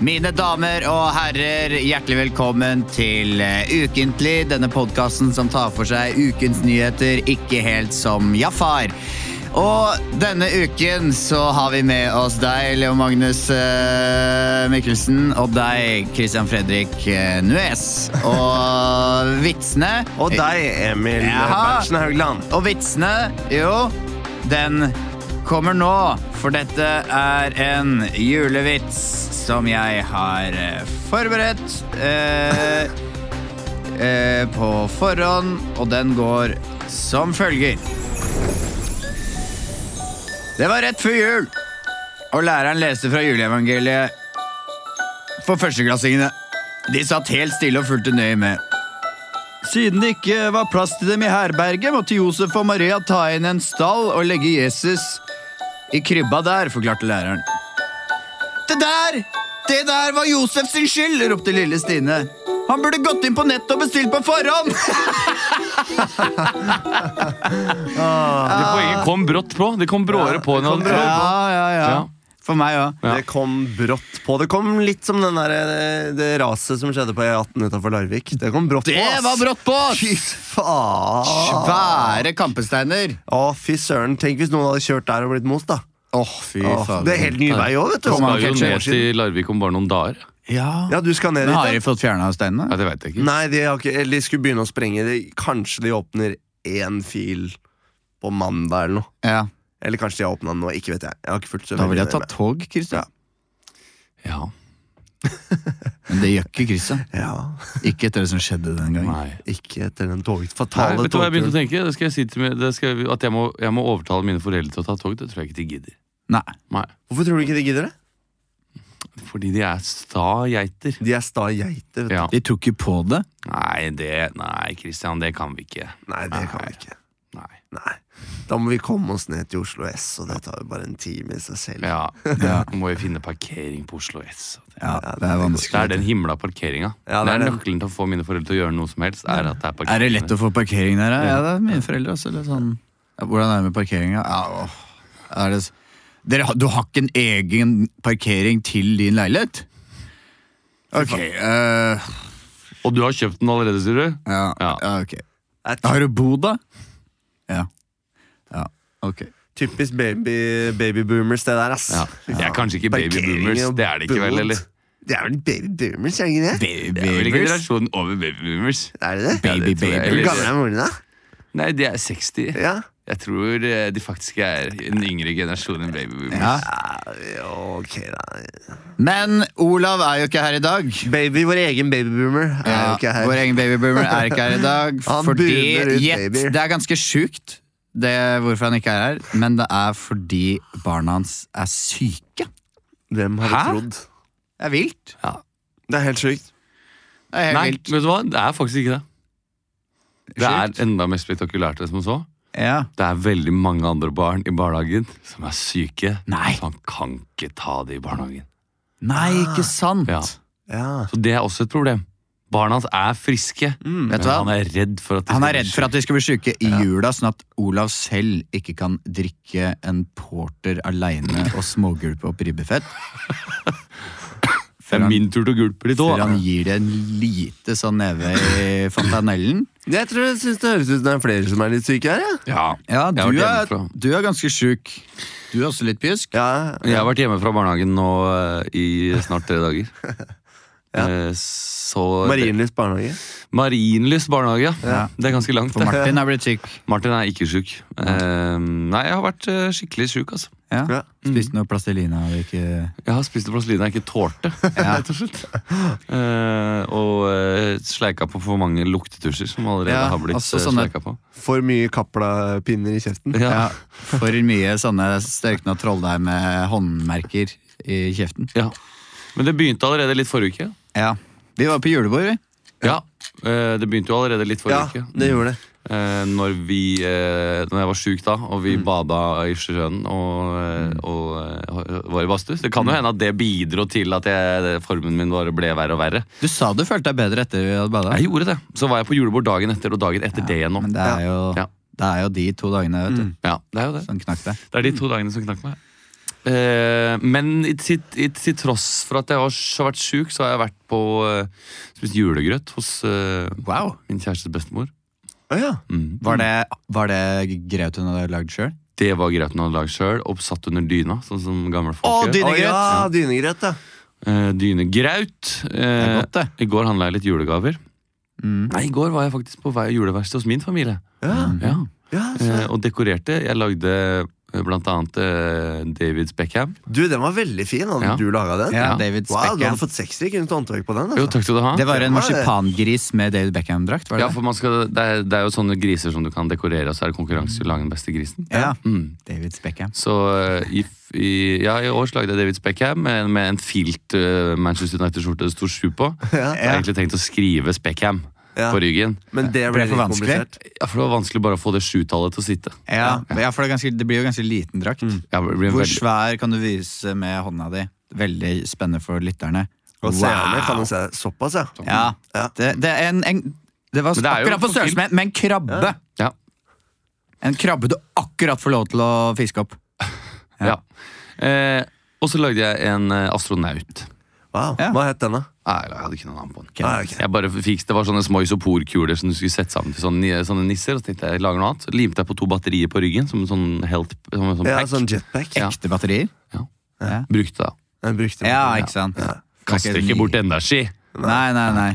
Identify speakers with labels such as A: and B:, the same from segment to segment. A: Mine damer og herrer, hjertelig velkommen til eh, Ukentlig. Denne podkasten som tar for seg ukens nyheter, ikke helt som Jafar. Og denne uken så har vi med oss deg, Leo Magnus eh, Mikkelsen, og deg, Christian Fredrik eh, Nues. Og vitsene
B: Og deg, Emil
A: Jaha.
B: Berntsen Haugland.
A: Og vitsene, jo, den kommer nå. For dette er en julevits som jeg har eh, forberedt eh, eh, på forhånd, og den går som følger. Det var rett før jul, og læreren leste fra juleevangeliet for førsteklassingene. De satt helt stille og fulgte nøye med. Siden det ikke var plass til dem i herberget, måtte Josef og Maria ta inn en stall og legge Jesus i krybba der, forklarte læreren. Det der! Det der var Josefs skyld! ropte lille Stine. Han burde gått inn på nettet og bestilt på forhånd!
C: Det poenget kom brått på. Det kom bråere på enn
B: kom
C: han
B: brått
C: trodde.
A: ja,
C: Ja.
A: For meg òg.
C: Ja.
B: Det kom brått på. Det kom litt som den der, eh, det raset som skjedde på E18 utenfor Larvik. Det kom brått på.
A: Det
B: ass.
A: var brått på! ass.
B: Fy faen!
A: Svære kampesteiner.
B: Å, fy søren. Tenk hvis noen hadde kjørt der og blitt most, da.
A: Åh, fy
B: Å, det er helt ny vei òg, vet du.
A: Kom
B: Om
A: an,
C: Skal
B: man
C: jo
B: kan
A: Ketchup.
B: kjøre
C: ned
B: år siden.
C: til Larvik om bare noen dager.
A: Ja.
B: Ja, du skal ned
A: Men har de
B: dit.
A: fått fjerna steinene?
C: Ja, det vet jeg
B: da.
C: ikke.
B: Nei, de, har ikke, eller de skulle begynne å sprenge. De, kanskje de åpner én fil på mandag eller noe.
A: Ja.
B: Eller kanskje de har åpna den nå. Ikke vet jeg. Jeg har ikke fulgt så
A: Da
B: veldig
A: ville jeg
B: nøye
A: tatt tog, Christian.
B: Ja.
C: Ja.
A: Men det gjør ikke Christian.
B: med. Ja,
A: Ikke etter det som skjedde den gangen.
C: Nei.
B: Ikke etter den tog,
C: Nei,
B: fatale
C: vet du hva jeg begynte å
B: togturen.
C: tenke? Det skal jeg si til meg, det skal, jeg- at jeg må, jeg må overtale mine foreldre til å ta tog. Det tror jeg ikke de gidder.
A: Nei.
C: Nei.
B: Hvorfor tror du ikke de gidder det?
C: Fordi de er sta geiter.
B: De er sta geiter. vet du.
C: Ja.
A: De tok ikke på det.
C: Nei, det Nei, Christian, det kan vi ikke.
B: Nei, det kan vi ikke.
C: Nei.
B: Nei. Da må vi komme oss ned til Oslo S, og det tar jo bare en time i seg selv.
C: Ja.
A: Ja.
C: Nå må vi finne parkering på Oslo S.
A: Ja,
B: det er
C: Det er den himla parkeringa.
B: Ja,
C: det
B: det
C: er
B: er den.
C: nøkkelen til å få mine foreldre til å gjøre noe som helst. Er at det er parkering.
A: Er det lett å få parkering der? Ja, det er mine foreldre også. Eller sånn. ja, hvordan er det med parkeringa? Ja, åh, er det... s- Dere, har- du har ikke en egen parkering til din leilighet? Ok. eh,
C: Og du har kjøpt den allerede, sier du?
A: ja, ja.
C: Ja.
A: ok.
B: Det er
A: Har du bod, da? Ja. Ja, ok.
B: typisk baby, baby boomers, det der, ass.
C: Ja. Det er kanskje ikke baby
B: Parkering
C: boomers.
B: og
C: Det er det ikke vel,
B: bod.
C: eller?
B: Det er vel baby boomers, er det ikke det?
C: Det er vel ikke
A: Babers?
C: generasjonen over baby boomers.
B: Er det det?
C: Ja,
A: Baby
C: det tror jeg.
B: Hvor
A: babers.
B: gammel er moren din, da?
C: Nei, de er 60.
B: Ja.
C: Jeg tror eh, de faktisk er en yngre generasjon enn baby boomers.
A: Ja.
B: Ja, Ok, da.
A: Men Olav er jo ikke her i dag.
B: Baby, vår egen baby boomer, er jo
A: Ja,
B: ikke her.
A: Vår egen babyboomer er ikke her i dag.
B: Han
A: fordi,
B: buner ut
A: Gjett,
B: babyer.
A: Det er ganske sjukt det, hvorfor han ikke er her, men det er fordi barna hans er syke.
B: Hvem hadde
C: Hæ?
B: trodd?
A: Det er vilt.
B: Det er helt sjukt.
A: Det er helt
C: Nei,
A: vilt.
C: vet du hva? Det er faktisk ikke det. Det er
A: Sjukt.
C: enda mer spektakulært enn som så.
A: Ja.
C: Det er veldig mange andre barn i barnehagen som er syke.
A: Nei.
C: Så han kan ikke ta det i barnehagen.
A: Nei, ikke sant.
C: Ja.
B: Ja.
C: Så det er også et problem. Barna hans er friske,
A: Mm. Vet
C: men
A: du hva?
C: han er redd for at de
A: Han
C: skal
A: er
C: bli
A: redd for at de skal bli syke i jula, sånn at Olav selv ikke kan drikke en porter aleine og smågulpe opp ribbefett.
C: syke. Det er min tur til å gulpe litt
A: Før
C: òg.
A: han gir det en lite sånn neve i fontanellen.
B: Jeg tror jeg synes det høres ut som det er flere som er litt syke her, jeg.
C: Ja.
A: Ja,
C: Jeg
A: du
C: har vært
A: er,
C: hjemmefra.
A: du er ganske sjuk. Du er også litt pjusk.
B: Ja.
C: Jeg har vært hjemme fra barnehagen nå eh, i snart tre dager. Eh, så
B: Marienlyst barnehage.
C: Marienlyst barnehage, ja.
A: Ja.
C: Det er ganske langt.
A: For
C: det.
A: Martin har blitt syk.
C: Martin er ikke sjuk. Eh, nei, jeg har vært eh, skikkelig sjuk, altså.
A: Ja.
B: Ja.
A: Spiste noe plastelina og ikke
C: Jeg har spist plastelina jeg ikke tålte, rett og slett. Eh, og eh, sleika på for mange luktetusjer som allerede
A: Ja,
C: har blitt
A: altså
C: eh,
A: sånne-
C: sleika på.
B: For mye Kapla-pinner i kjeften.
C: Ja.
A: ja, For mye sånne størkna trolldeig med håndmerker i kjeften.
C: Ja. Men det begynte allerede litt forrige uke.
A: Ja. Vi var på julebord, vi.
C: Ja, eh, Det begynte jo allerede litt forrige
B: Ja,
C: uke.
B: det gjorde det.
C: Eh, når, vi, eh, når jeg var sjuk da, og vi bada i sjøen og, eh, og eh, var i badstue. Det kan jo hende at det bidro til at jeg, formen min bare ble verre og verre.
A: Du sa du følte deg bedre etter vi hadde bada.
C: Jeg gjorde det. Så var jeg på julebord dagen etter og dagen etter det igjen nå.
A: Men det er, jo,
C: Ja. Mm.
A: det er jo de to dagene vet du,
C: Ja, det er jo det.
A: som knakk deg.
C: Det er de to dagene som knakk meg. Eh, men i- til i- til tross for at jeg har s- har vært sjuk, så har jeg vært på eh, spist julegrøt hos eh,
A: Wow.
C: min kjærestes bestemor.
B: Å ja.
C: Mhm.
A: Var det, var det grøt hun hadde lagd sjøl?
C: Det var grøten hun hadde lagd sjøl og satt under dyna, sånn som gamle folk gjør.
B: Å ja, dynegrøt, ja.
C: Eh, Dynegraut.
A: Det er
C: Eh,
A: godt, det.
C: I går handla jeg litt julegaver.
A: Mm.
C: Nei, I går var jeg faktisk på vei juleverksted hos min familie.
B: Ja,
C: Ja.
B: ja
C: Eh,
B: så.
C: og dekorerte. Jeg lagde eh, blant annet eh, Davids Beckham.
B: Du, den var veldig fin. Hadde
C: Ja.
B: du laga den?
A: Ja,
C: Ja.
A: David
B: Wow, du
A: Beckham.
B: hadde fått sekser i kunst og håndverk på den.
C: Jo,
B: Altså.
C: takk skal du ha.
A: Det var en
B: Ja, det-
A: marsipangris med David Beckham-drakt, var det
C: Ja, for man skal, det, er, det er jo sånne griser som du kan dekorere, og så er det konkurranse til å lage den beste grisen.
A: det? Ja.
C: Mm.
A: David Beckham.
C: Så eh, i, f- i, ja, i år så lagde jeg Davids Beckham med, med en filt eh, Manchester United-skjorte det sto sju på.
B: Ja.
C: Jeg har egentlig tenkt å skrive Speckham
B: Ja.
C: på ryggen.
B: Men det
A: Ble
B: ble
A: for
B: litt
A: vanskelig?
B: komplisert.
C: Ja, For det var vanskelig bare å få det sjutallet til å sitte.
A: Ja, ja for det, er ganske, det blir jo ganske liten drakt.
C: Ja, det blir en
A: Hvor
C: veldig-
A: svær kan du vise med hånda di? Veldig spennende for lytterne.
B: Og seerne kan jo se såpass, ja.
A: Ja,
B: Ja.
A: det, det, er en, en, det var
C: Men det er jo
A: akkurat på
C: for
A: størrelse med, med en krabbe.
C: Ja.
A: En krabbe du akkurat får lov til å fiske opp.
C: Ja. Eh, og så lagde jeg en eh, astronaut.
B: Wow.
A: Ja.
B: Hva het den, da?
C: Nei, jeg hadde ikke noe navn på den.
B: Ah, ok.
C: Jeg bare fikk, Det var sånne små isoporkuler som du skulle sette sammen til sånne, ni- sånne nisser. Og så tenkte jeg, jeg lager noe annet. Så limte jeg på to batterier på ryggen som en sånn health som en sånn
B: Ja,
C: pack.
B: sånn jetpack.
C: Ja.
A: Ekte batterier.
C: Ja.
A: Ja.
C: Brukte det.
B: Den brukte
A: Ja,
B: den.
A: ikke sant.
C: Kaster ikke bort energi.
A: Nei, nei, nei.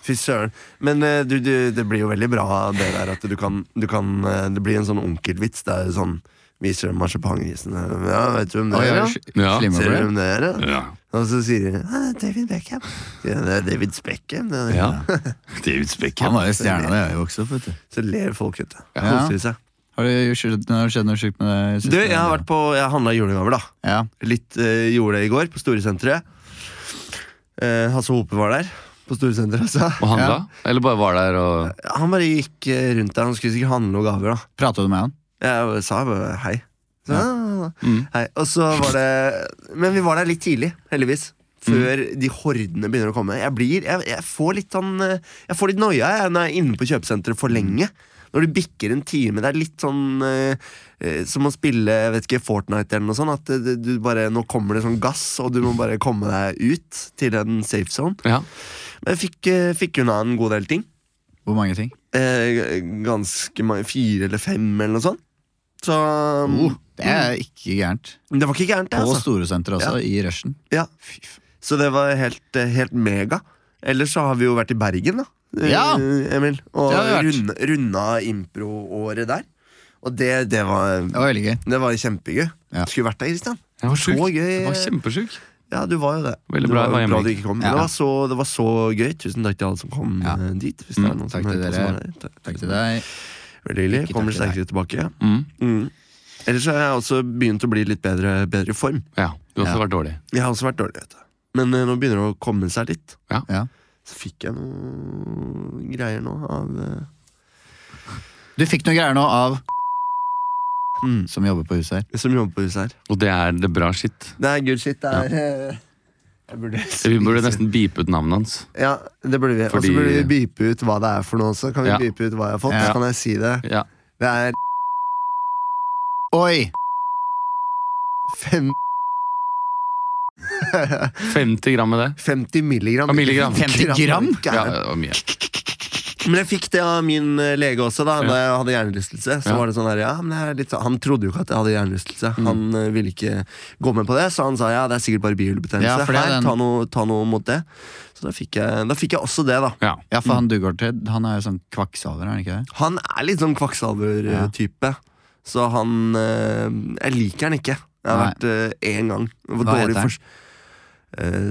B: Fy søren. Men eh, du, du, det blir jo veldig bra det der at du kan, du kan eh, Det blir en sånn onkelvits. Det er jo sånn Viser dem marsipangrisene. Ja, vet du hvem det er? da?
C: Ja.
A: Slimmer
B: Ser du
A: på det.
B: hvem det er? da?
C: Ja.
B: Og så sier de «Ah, David Beckham. Ja, det er David Beckham. Det er,
C: David Speckham.
A: Han var jo stjerna da jeg vokste opp. vet du.
B: Så ler folk, vet du.
A: Ja.
B: Koser de seg.
A: Har det skjedd, har det skjedd noe sjukt med deg? i siste?
B: Du, jeg har vært på Jeg handla julegaver, da.
A: ja.
B: Litt eh, gjorde det i går, på Storesenteret. Eh, Hasse Hope var der. På Storesenteret, altså.
C: Og handla? Eller bare var der og
B: Han bare gikk eh, rundt der. Han skulle sikkert handle noen gaver, da.
A: Prata du med han?
B: Jeg sa bare hei. Så, «Ah,
C: Mm.
B: hei. Og så var det Men vi var der litt tidlig, heldigvis. Før de hordene begynner å komme. Jeg, blir, jeg, jeg får litt sånn eh, Jeg får litt noia jeg, når jeg er inne på kjøpesenteret for lenge. Når du bikker en time. Det er litt sånn eh, eh, som å spille jeg vet ikke, Fortnite eller noe sånt. At eh, du bare, nå kommer det sånn gass, og du må bare komme deg ut til en safe zone.
C: Ja.
B: Men jeg fikk, eh, fikk unna en god del ting.
A: Hvor mange ting?
B: Eh, ganske mange. Fire eller fem, eller noe sånt. Så Uh.
A: Det er ikke gærent.
B: Det var ikke gærent, det.
A: På
B: Altså.
A: Storesenteret også, i rushen.
B: Ja. Så det var helt, eh, helt mega. Ellers så har vi jo vært i Bergen, da. eh,
A: Ja.
B: Emil. Og
A: Det har vi vært.
B: runda, runda impro-året der. Og det, det var
A: Det var veldig gøy.
B: det var kjempegøy.
A: Ja.
B: Skulle vært der, Kristian.
C: Jeg var
B: Så
C: sjuk.
B: gøy.
C: Jeg var kjempesjuk.
B: Ja, du var jo det.
C: Veldig
B: det
C: bra,
B: var
C: jeg var hjemme.
B: bra du ikke kom. Men
A: Ja.
B: Det, var så, det var så gøy. Tusen takk til alle som kom
A: Ja.
B: eh, dit. Hvis det
C: Mm,
B: er noen
A: takk
B: som
A: til
B: hørte
A: dere.
B: som var der. Ta-
A: Takk til deg.
B: Veldig hyggelig.
A: Ikke
B: Kommer
A: takk til
B: sterkere tilbake. Ja.
C: Mm.
B: Mm. Ellers så har jeg også begynt å bli litt bedre, bedre i form.
C: Ja. Du har også
A: Ja.
C: vært dårlig.
B: Jeg har også vært dårlig, vet du. Men eh, nå begynner det å komme seg litt.
A: Ja.
B: Så fikk jeg noe greier nå av eh,
A: Du fikk noen greier nå av
B: mm,
A: som jobber på huset her.
B: Som jobber på huset her.
C: Og det er det bra shit.
B: Det er good shit. Det er eh, jeg burde,
C: Vi burde nesten beepe ut navnet hans.
B: Ja, det burde vi. Og
C: Fordi-
B: så burde vi beepe ut hva det er for noe også. Kan vi
C: Ja.
B: beepe ut hva jeg har fått?
A: Ja.
B: Så kan jeg si det.
C: Ja.
B: Det er
A: Oi!
B: fem,
C: 50 gram med det.
B: 50 milligram.
C: Ja, milligram.
A: 50 gram?
C: Ja,
B: Gæren.
C: det var mye. faktisk.
B: Men jeg fikk det av min eh, lege også, da da jeg hadde hjernerystelse. Så var det sånn der, ja, men jeg er litt, sånn- Han trodde jo ikke at jeg hadde hjernerystelse.
A: Mm.
B: Han eh, ville ikke gå med på det, så han sa ja, det er sikkert bare bihulebetennelse.
A: Ja, for det er
B: Her,
A: den-
B: ta, noe, ta noe mot det. Så da fikk jeg, da fikk jeg også det, da.
C: Ja.
A: Ja, for han Dugardted, han er jo sånn kvakksalver, er han ikke det?
B: Han er litt sånn kvakksalver-type, så han eh, Jeg liker han ikke. Jeg har
A: Nei.
B: vært eh, én gang. Det var
A: Hva
B: dårlig
A: heter han?
B: fors- Eh,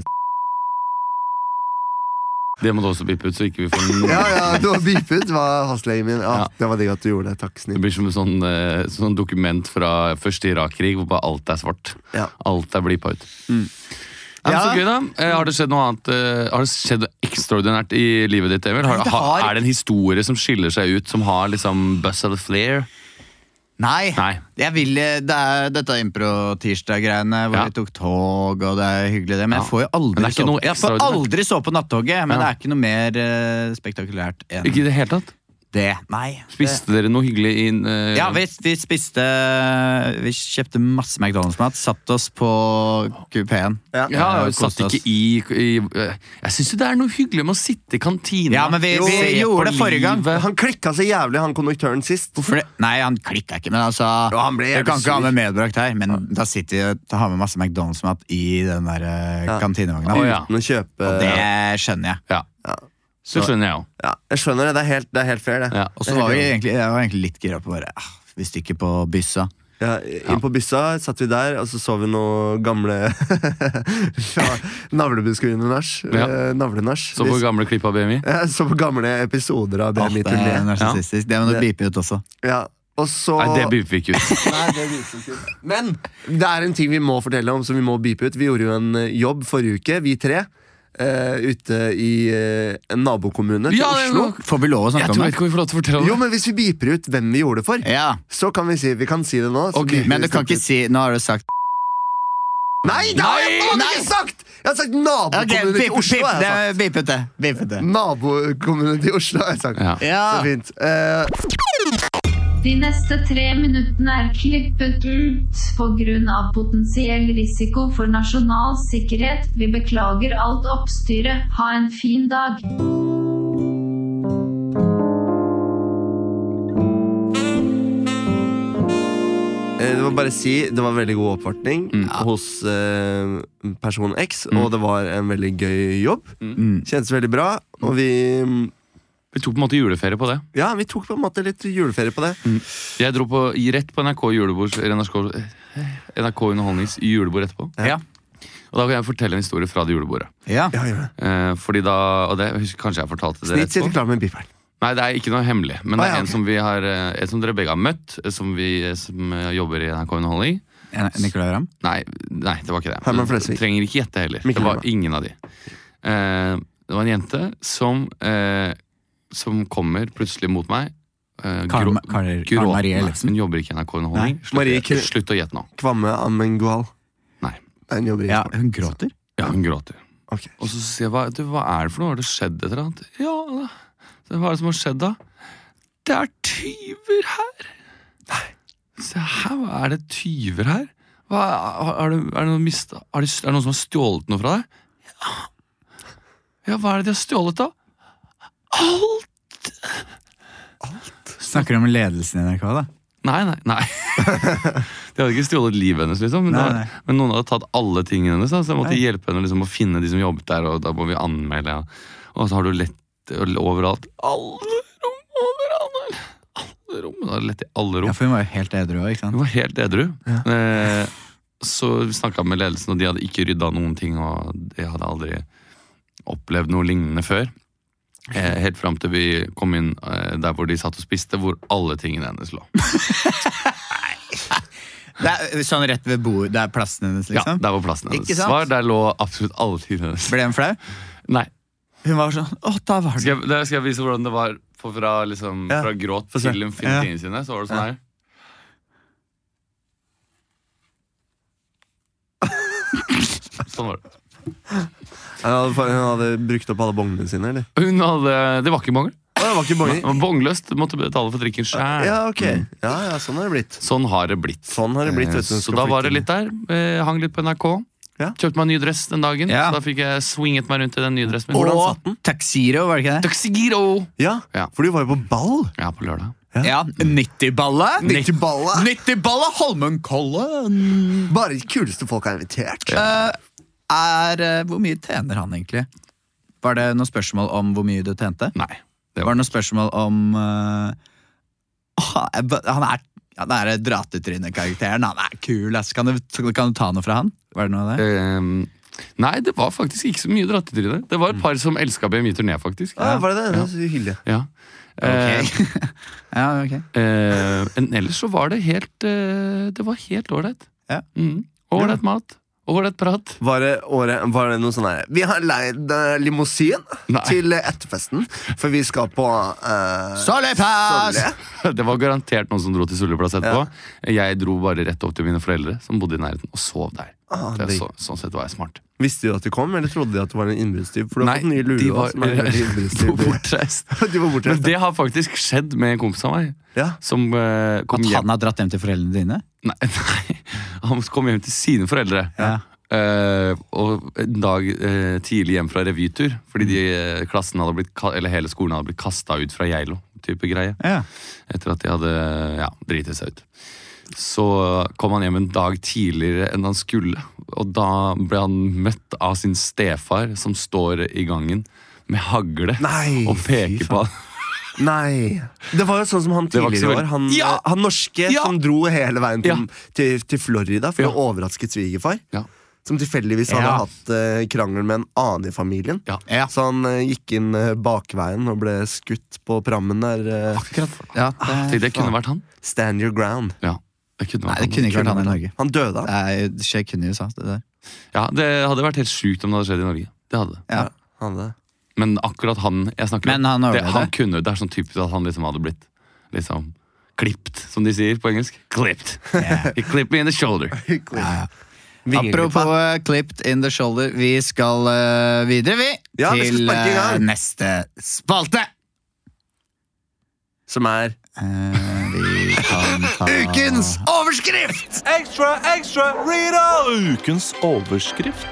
C: Det må du også bippe ut, så ikke vi får noen
B: ja, ja, du har beepet, var fastlegen min. Ja,
C: Ja.
B: Det var digg at du gjorde det. Takk,
C: Det
B: snill.
C: blir som et sånn, eh, sånn dokument fra første Irak-krig hvor bare alt er svart.
B: Ja.
C: Alt er blipa ut.
A: Mm.
C: Ja, men
A: Ja.
C: Så gøy, da. Eh, Har det skjedd noe annet eh, Har det skjedd noe ekstraordinært i livet ditt, Emil? Har,
A: Nei, det
C: ha,
A: har-
C: er det en historie som skiller seg ut, som har liksom buzz eller flair?
A: Nei!
C: Nei.
A: Jeg vil, eh, det er dette impro-tirsdag-greiene hvor
C: Ja.
A: vi tok tog, og det er hyggelig, det, men
C: Ja.
A: jeg får jo
C: Men det er
A: aldri,
C: ikke
A: så,
C: noe
A: jeg får
C: ekstraordinært.
A: aldri så på nattoget. Men
C: Ja.
A: det er ikke noe mer eh, spektakulært enn
C: Ikke i det hele tatt?
A: det. Nei. det-
C: Spiste dere noe hyggelig i eh,
A: Ja, vi, vi spiste Vi kjøpte masse McDonald's-mat, satt oss på kupeen.
C: ja,
A: Ja,
C: vi satt
A: koste oss.
C: ikke i, i eh, Jeg syns jo det er noe hyggelig med å sitte i kantina.
A: Ja, men vi,
B: Jo,
A: vi
C: se på
A: gjorde det forrige gang.
C: livet.
B: Han klikka så jævlig, han konduktøren sist.
A: For det, nei, han klikka ikke, men altså
B: Jo, han ble
A: Du
B: jævlig
A: kan ikke ha
B: sur.
A: med medbrakt her, men da sitter vi og har med masse McDonald's-mat i den der eh,
B: Ja.
A: kantinevogna.
C: Å, ja.
B: Uten å kjøpe
A: Og det skjønner jeg.
C: Ja. Det skjønner jeg jo.
B: Ja, jeg skjønner det. Det er helt, det er helt fair, det.
C: Ja.
A: Og så var vi egentlig, jeg var egentlig litt gira på bare ah, Vi stikker på byssa.
B: Ja, inn på byssa satt vi der, og så så vi noe gamle fra navlebeskuende-nach.
C: Ja.
B: eh, Navlenach.
C: Så på
B: Vi-
C: gamle klipp av BMI.
B: Ja, så på gamle episoder av
A: Ah, det
B: BMI
A: er
B: turné.
A: narsissistisk. Det må du
B: Det-
A: bipe ut også.
B: Ja. Og så
C: Nei, det bipper vi ikke ut.
B: Nei, det viser ikke. Men det er en ting vi må fortelle om, som vi må beepe ut. Vi gjorde jo en eh, jobb forrige uke, vi tre. eh, ute i eh, en nabokommune til
C: Ja, det er
B: Oslo.
C: nok.
A: Får vi lov å
C: Jeg
A: snakke
C: tror
A: om det?
C: ikke vi får lov til å fortelle om det.
B: Jo, men hvis vi beeper ut hvem vi gjorde det for,
A: Ja.
B: så kan vi si Vi kan si det nå. så
C: Ok,
B: beeper
A: Men
B: vi
A: du kan
B: snart ut.
A: ikke si Nå har du sagt
B: Nei, det har jeg
C: Nei,
B: faen
A: nei.
B: ikke sagt! Jeg har sagt nabokommunen til Oslo. har jeg sagt.
A: Bipet det. Bipet det.
B: Nabokommunen til Oslo, har jeg sagt.
C: Ja.
B: Så
A: Ja.
B: fint. Eh,
D: De neste tre minuttene er klippet ut pga. potensiell risiko for nasjonal sikkerhet. Vi beklager alt oppstyret. Ha en fin dag.
B: eh, det var bare å si det var veldig god oppvartning
C: Mm.
B: hos eh, person X, og det var en veldig gøy jobb.
C: Mm.
B: Kjentes veldig bra, og vi
C: Vi tok på en måte juleferie på det.
B: Ja, vi tok på en måte litt juleferie på det.
C: Mm. Jeg dro på, rett på NRK julebord eller NRK, eh, NRK Underholdnings julebord etterpå.
A: Ja.
C: Og da kan jeg fortelle en historie fra det julebordet.
A: ja.
B: Ja, gjør det.
C: Eh, fordi da, og det jeg husker Kanskje jeg fortalte det
B: Snitt sitter
C: etterpå?
B: klar med beeperen.
C: Nei, det er ikke noe hemmelig. Men det
B: Ah, ja,
C: er en
B: ok.
C: som, vi har, eh, en som dere begge har møtt, eh, som, vi, eh, som eh, jobber i NRK Underholdning.
A: Nicolai Ramm?
C: Nei, nei, det var ikke det.
B: Herman Flesvig.
C: Trenger ikke gjette heller.
B: Mikkel
C: det var
B: Herman.
C: ingen av de. Eh, det var en jente som, eh, som kommer plutselig mot meg. eh,
A: Karl-
C: grå-
A: Karl-
C: grå-
A: Karl-Marie
C: Nei,
A: Ellefsen.
C: Hun jobber ikke i NRK Underholdning.
B: Nei,
C: Slutt,
B: Marie Kre-
C: slutt å gjette nå.
B: Kvamme Amengual.
C: Nei.
B: Det er en jobber i
A: Ja,
B: skolen.
A: hun gråter.
C: Ja, hun gråter.
B: Ok.
C: Og så sier jeg, hva, du, hva er det for noe? Har det skjedd et eller annet? Ja, så, hva er det som har skjedd da? Det er tyver her! Se her, hva er det tyver her? Hva, har, har, du- er det noen mista, har de, er det noen som har stjålet noe fra deg? Ja. ja, hva er det de har stjålet da? Alt!
A: Snakker om ledelsen i NRK, da.
C: Nei, nei, nei. De hadde ikke stjålet livet hennes, liksom. Men,
A: Nei,
C: det var-
A: nei.
C: men noen hadde tatt alle tingene hennes, da, så jeg måtte hjelpe henne liksom, å finne de som jobbet der, og da må vi anmelde. ja. Og så har du lett overalt. Alle rom, overalt! Alle rom. Da hadde lett i alle
A: Ja,
C: rom.
A: for hun var jo helt edru òg, ikke
C: Hun
A: sant?
C: var helt edru. Eh, så snakka jeg med ledelsen, og de hadde ikke rydda noen ting, og de hadde aldri opplevd noe lignende før. Eh, helt fram til vi kom inn eh, der hvor de satt og spiste, hvor alle tingene hennes lå.
A: Det er sånn rett ved bordet, det er plassen hennes,
C: Ja,
A: liksom?
C: der var plassen hennes.
A: Ikke sant?
C: Svar, der lå absolutt alle tingene hennes.
A: Ble hun flau?
C: Nei.
A: Hun var sånn Å, da var
C: Skal
A: det
C: jeg, da skal jeg vise hvordan det var på- fra, liksom,
B: Ja,
C: fra gråt
B: få se.
C: til hun finner
A: Ja.
C: tingene sine? Så var det sånn her. Sånn var det.
B: Hun hadde, hun hadde brukt opp alle bongene sine, eller?
C: Hun hadde, det var ikke mangel.
B: Å, det var ikke
C: Det
B: bonger.
C: var bongløst. Måtte betale for trikken sjæl.
B: Ja, ok. Ja, ja, sånn har det blitt.
C: Sånn har det blitt.
B: Sånn har det blitt, vet du.
C: Eh, Så da var det litt der. Eh, hang litt på NRK.
B: Ja.
C: Kjøpte meg en ny dress den dagen,
A: Ja.
C: så da fikk jeg swinget meg rundt i den nye dressen min.
B: Hvordan satt den?
A: Taxiro, var det ikke det?
C: Tuxedo!
B: Ja,
C: Ja.
B: for du var jo på ball.
C: Ja, på lørdag.
A: Ja, 90-balle.
B: 90-balle.
A: 90-balle Holmenkollen.
B: Bare de kuleste folk er invitert.
A: Eh, er, eh, hvor mye tjener han egentlig? Var det noe spørsmål om hvor mye du tjente?
C: Nei.
A: Det var noe spørsmål om eh, Han er han er dratetryne-karakteren. Han er kul, ass. Kan du, kan du ta noe fra han? Var det noe av det?
C: Ehm, nei, det var faktisk ikke så mye drattetryne. Det var et par som elska BMI Turné, faktisk.
B: Ja, var det det? Det er så hyggelig.
C: Ja. Eh,
A: ja, ok.
C: eh, men ellers så var det helt eh, Det var helt ålreit.
A: Ja.
C: Mm. Ålreit mat. Ålreit prat.
B: Var det, året, var det noe sånn her Vi har leid eh, limousin
C: Nei.
B: til eh, etterfesten, for vi skal på eh,
A: Solepass!
B: Solle.
C: Det var garantert noen som dro til Sulleplass etterpå. Jeg dro bare rett opp til mine foreldre, som bodde i nærheten, og sov der.
B: Ah,
C: Det er
B: digg.
C: så, sånn sett var jeg smart.
B: Visste de at du kom, eller trodde de at du var en innbruddstyv? For du har
C: Nei,
B: fått nye lue
C: de
B: også,
C: var-
B: som er veldig innbruddstyv.
C: Bortreist.
B: De var borte.
C: Men det har faktisk skjedd med en kompis av meg.
B: Ja.
C: Som eh, kom
A: At
C: hjem
A: han har dratt hjem til foreldrene dine?
C: Nei, nei. Han kom hjem til sine foreldre.
A: Ja.
C: Eh, og en dag eh, tidlig hjem fra revytur, fordi de, eh, klassen hadde blitt, ka- eller hele skolen hadde blitt kasta ut fra Geilo. type greie,
A: Ja.
C: Etter at de hadde eh, ja, driti seg ut. Så kom han hjem en dag tidligere enn han skulle. Og da ble han møtt av sin stefar, som står i gangen med hagle
B: Nei,
C: og
B: fy
C: peker på han.
B: Nei. Det var jo sånn som han
C: Det var ikke så
B: tidligere i år.
C: veldig-
B: Han, eh,
C: Ja!
B: han norske
C: Ja!
B: som dro hele veien til,
C: Ja.
B: til, til Florida for
C: Ja.
B: å overraske svigerfar.
C: Ja.
B: Som tilfeldigvis hadde
A: Ja.
B: hatt eh, krangel med en annen i familien.
C: Ja.
A: Ja.
B: Så han eh, gikk inn eh, bakveien og ble skutt på prammen der. eh,
A: Ja,
C: Tenk,
A: det,
C: Det kunne vært han.
B: stand your ground.
C: Ja, det kunne
A: nei,
C: vært
A: det
C: han.
A: kunne ikke vært han i Norge.
B: Han døde, han.
A: Nei, Det skjer kun i USA. Det der.
C: Ja, Det hadde vært helt sjukt om det hadde skjedd i Norge. Det hadde det.
A: Ja.
B: Han hadde-
C: Men akkurat han jeg snakker
A: Men han
C: om, det,
A: overlevde.
C: han kunne, det er sånn typisk at han liksom hadde blitt liksom klipt, som de sier på engelsk. Clipped. He clipped me in the shoulder.
B: Vingeklipp,
A: Apropos eh, clipped in the shoulder, vi skal eh, videre, vi.
B: Ja, vi skal
A: til
B: sparke i gang.
A: eh, neste spalte.
B: Som er
A: Eh, vi kan ta
B: Ukens overskrift!
E: Ukens overskrift.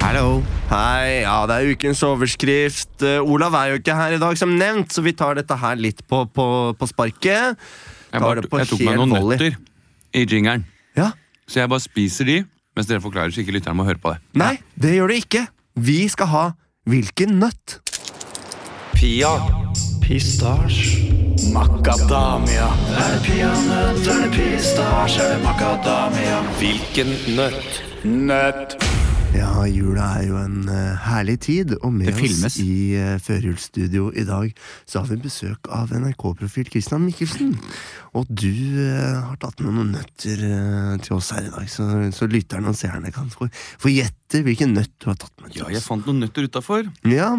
A: Hallo.
B: Hei, ja, det er ukens overskrift. Eh, Olav er jo ikke her i dag, som nevnt, så vi tar dette her litt på, på, på sparket.
C: Jeg,
B: Tar
C: bare,
B: det på
C: jeg tok meg
B: hel
C: noen
B: volley.
C: nøtter i jingeren,
B: Ja.
C: så jeg bare spiser de mens dere forklarer, så ikke lytteren må høre på det.
B: Nei, det gjør det ikke. Vi skal ha Hvilken nøtt?
E: Pia. Pistasj. Makadamia. Er det peanøtt, er det pistasj, er det makadamia? Hvilken nøtt? Nøtt.
B: Ja, jula er jo en eh, herlig tid, og med
A: Det filmes.
B: oss i uh, førjulsstudio i dag så har vi besøk av NRK-profil Christian Mikkelsen. Og du eh, har tatt med noen nøtter eh, til oss her i dag, så, så lytterne og seerne kan få, få gjette hvilken nøtt du har tatt med til
C: Ja, jeg
B: oss.
C: fant noen nøtter utafor,
B: Ja,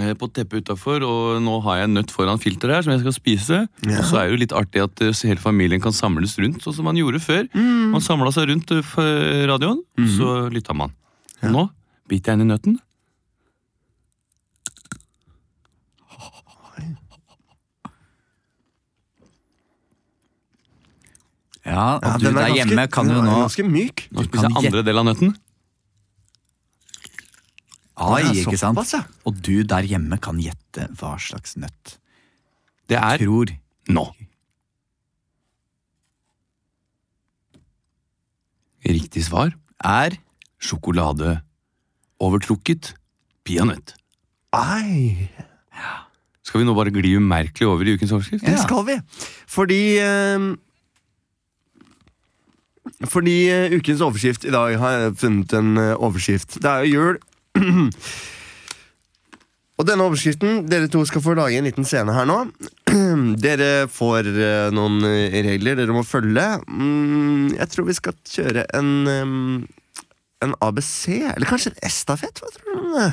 C: eh, på teppet utafor, og nå har jeg en nøtt foran filteret her som jeg skal spise. Og så er det jo litt artig at eh, hele familien kan samles rundt, sånn som man gjorde før. Man samla seg rundt eh, f- radioen, så lytta man. Og nå biter jeg inn i nøtten.
A: Ja, og
B: ja,
A: du der hjemme kan
B: den
A: jo
B: er
A: nå
B: ganske myk.
C: Nå spiser jeg andre del av nøtten.
A: Oi,
B: Ja,
A: ikke sant?
B: såpass, ja.
A: Og du der hjemme kan gjette hva slags nøtt
C: Det er
A: tror.
C: nå. Riktig svar
A: Er
C: sjokolade overtrukket peanøtt.
B: Ei,
C: Skal vi nå bare gli umerkelig over i ukens overskrift?
B: det skal vi. Fordi eh, Fordi eh, ukens overskrift i dag har jeg funnet en eh, overskrift. Det er jo jul. Og denne overskriften, dere to skal få lage en liten scene her nå. dere får eh, noen eh, regler dere må følge. Mm, jeg tror vi skal kjøre en eh, en ABC, eller kanskje en estafett? Hva tror du om det?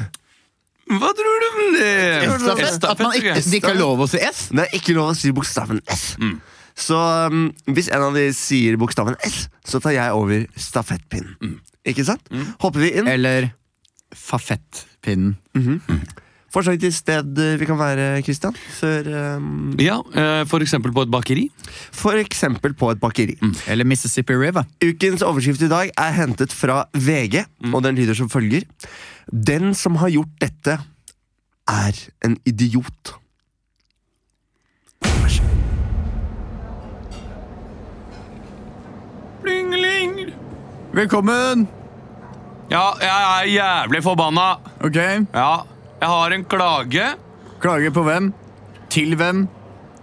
C: Hva tror du om det?
A: At man ikke, det ikke er lov å si S?
B: Det er ikke lov å si bokstaven S. Så um, hvis en av de sier bokstaven S, så tar jeg over stafettpinnen. Ikke sant? Hopper vi inn,
A: Eller fafettpinnen.
B: Forslag til sted eh, vi kan være, Christian? Før, eh,
C: Ja, eh, for eksempel på et bakeri.
B: for eksempel på et bakeri.
A: Eller Mississippi River.
B: Ukens overskrift i dag er hentet fra VG, og den lyder som følger. Den som har gjort dette, er en idiot.
C: Plingeling!
A: Velkommen!
C: Ja, jeg er jævlig forbanna.
A: Ok,
C: Ja, jeg har en klage.
A: Klager på hvem? Til hvem?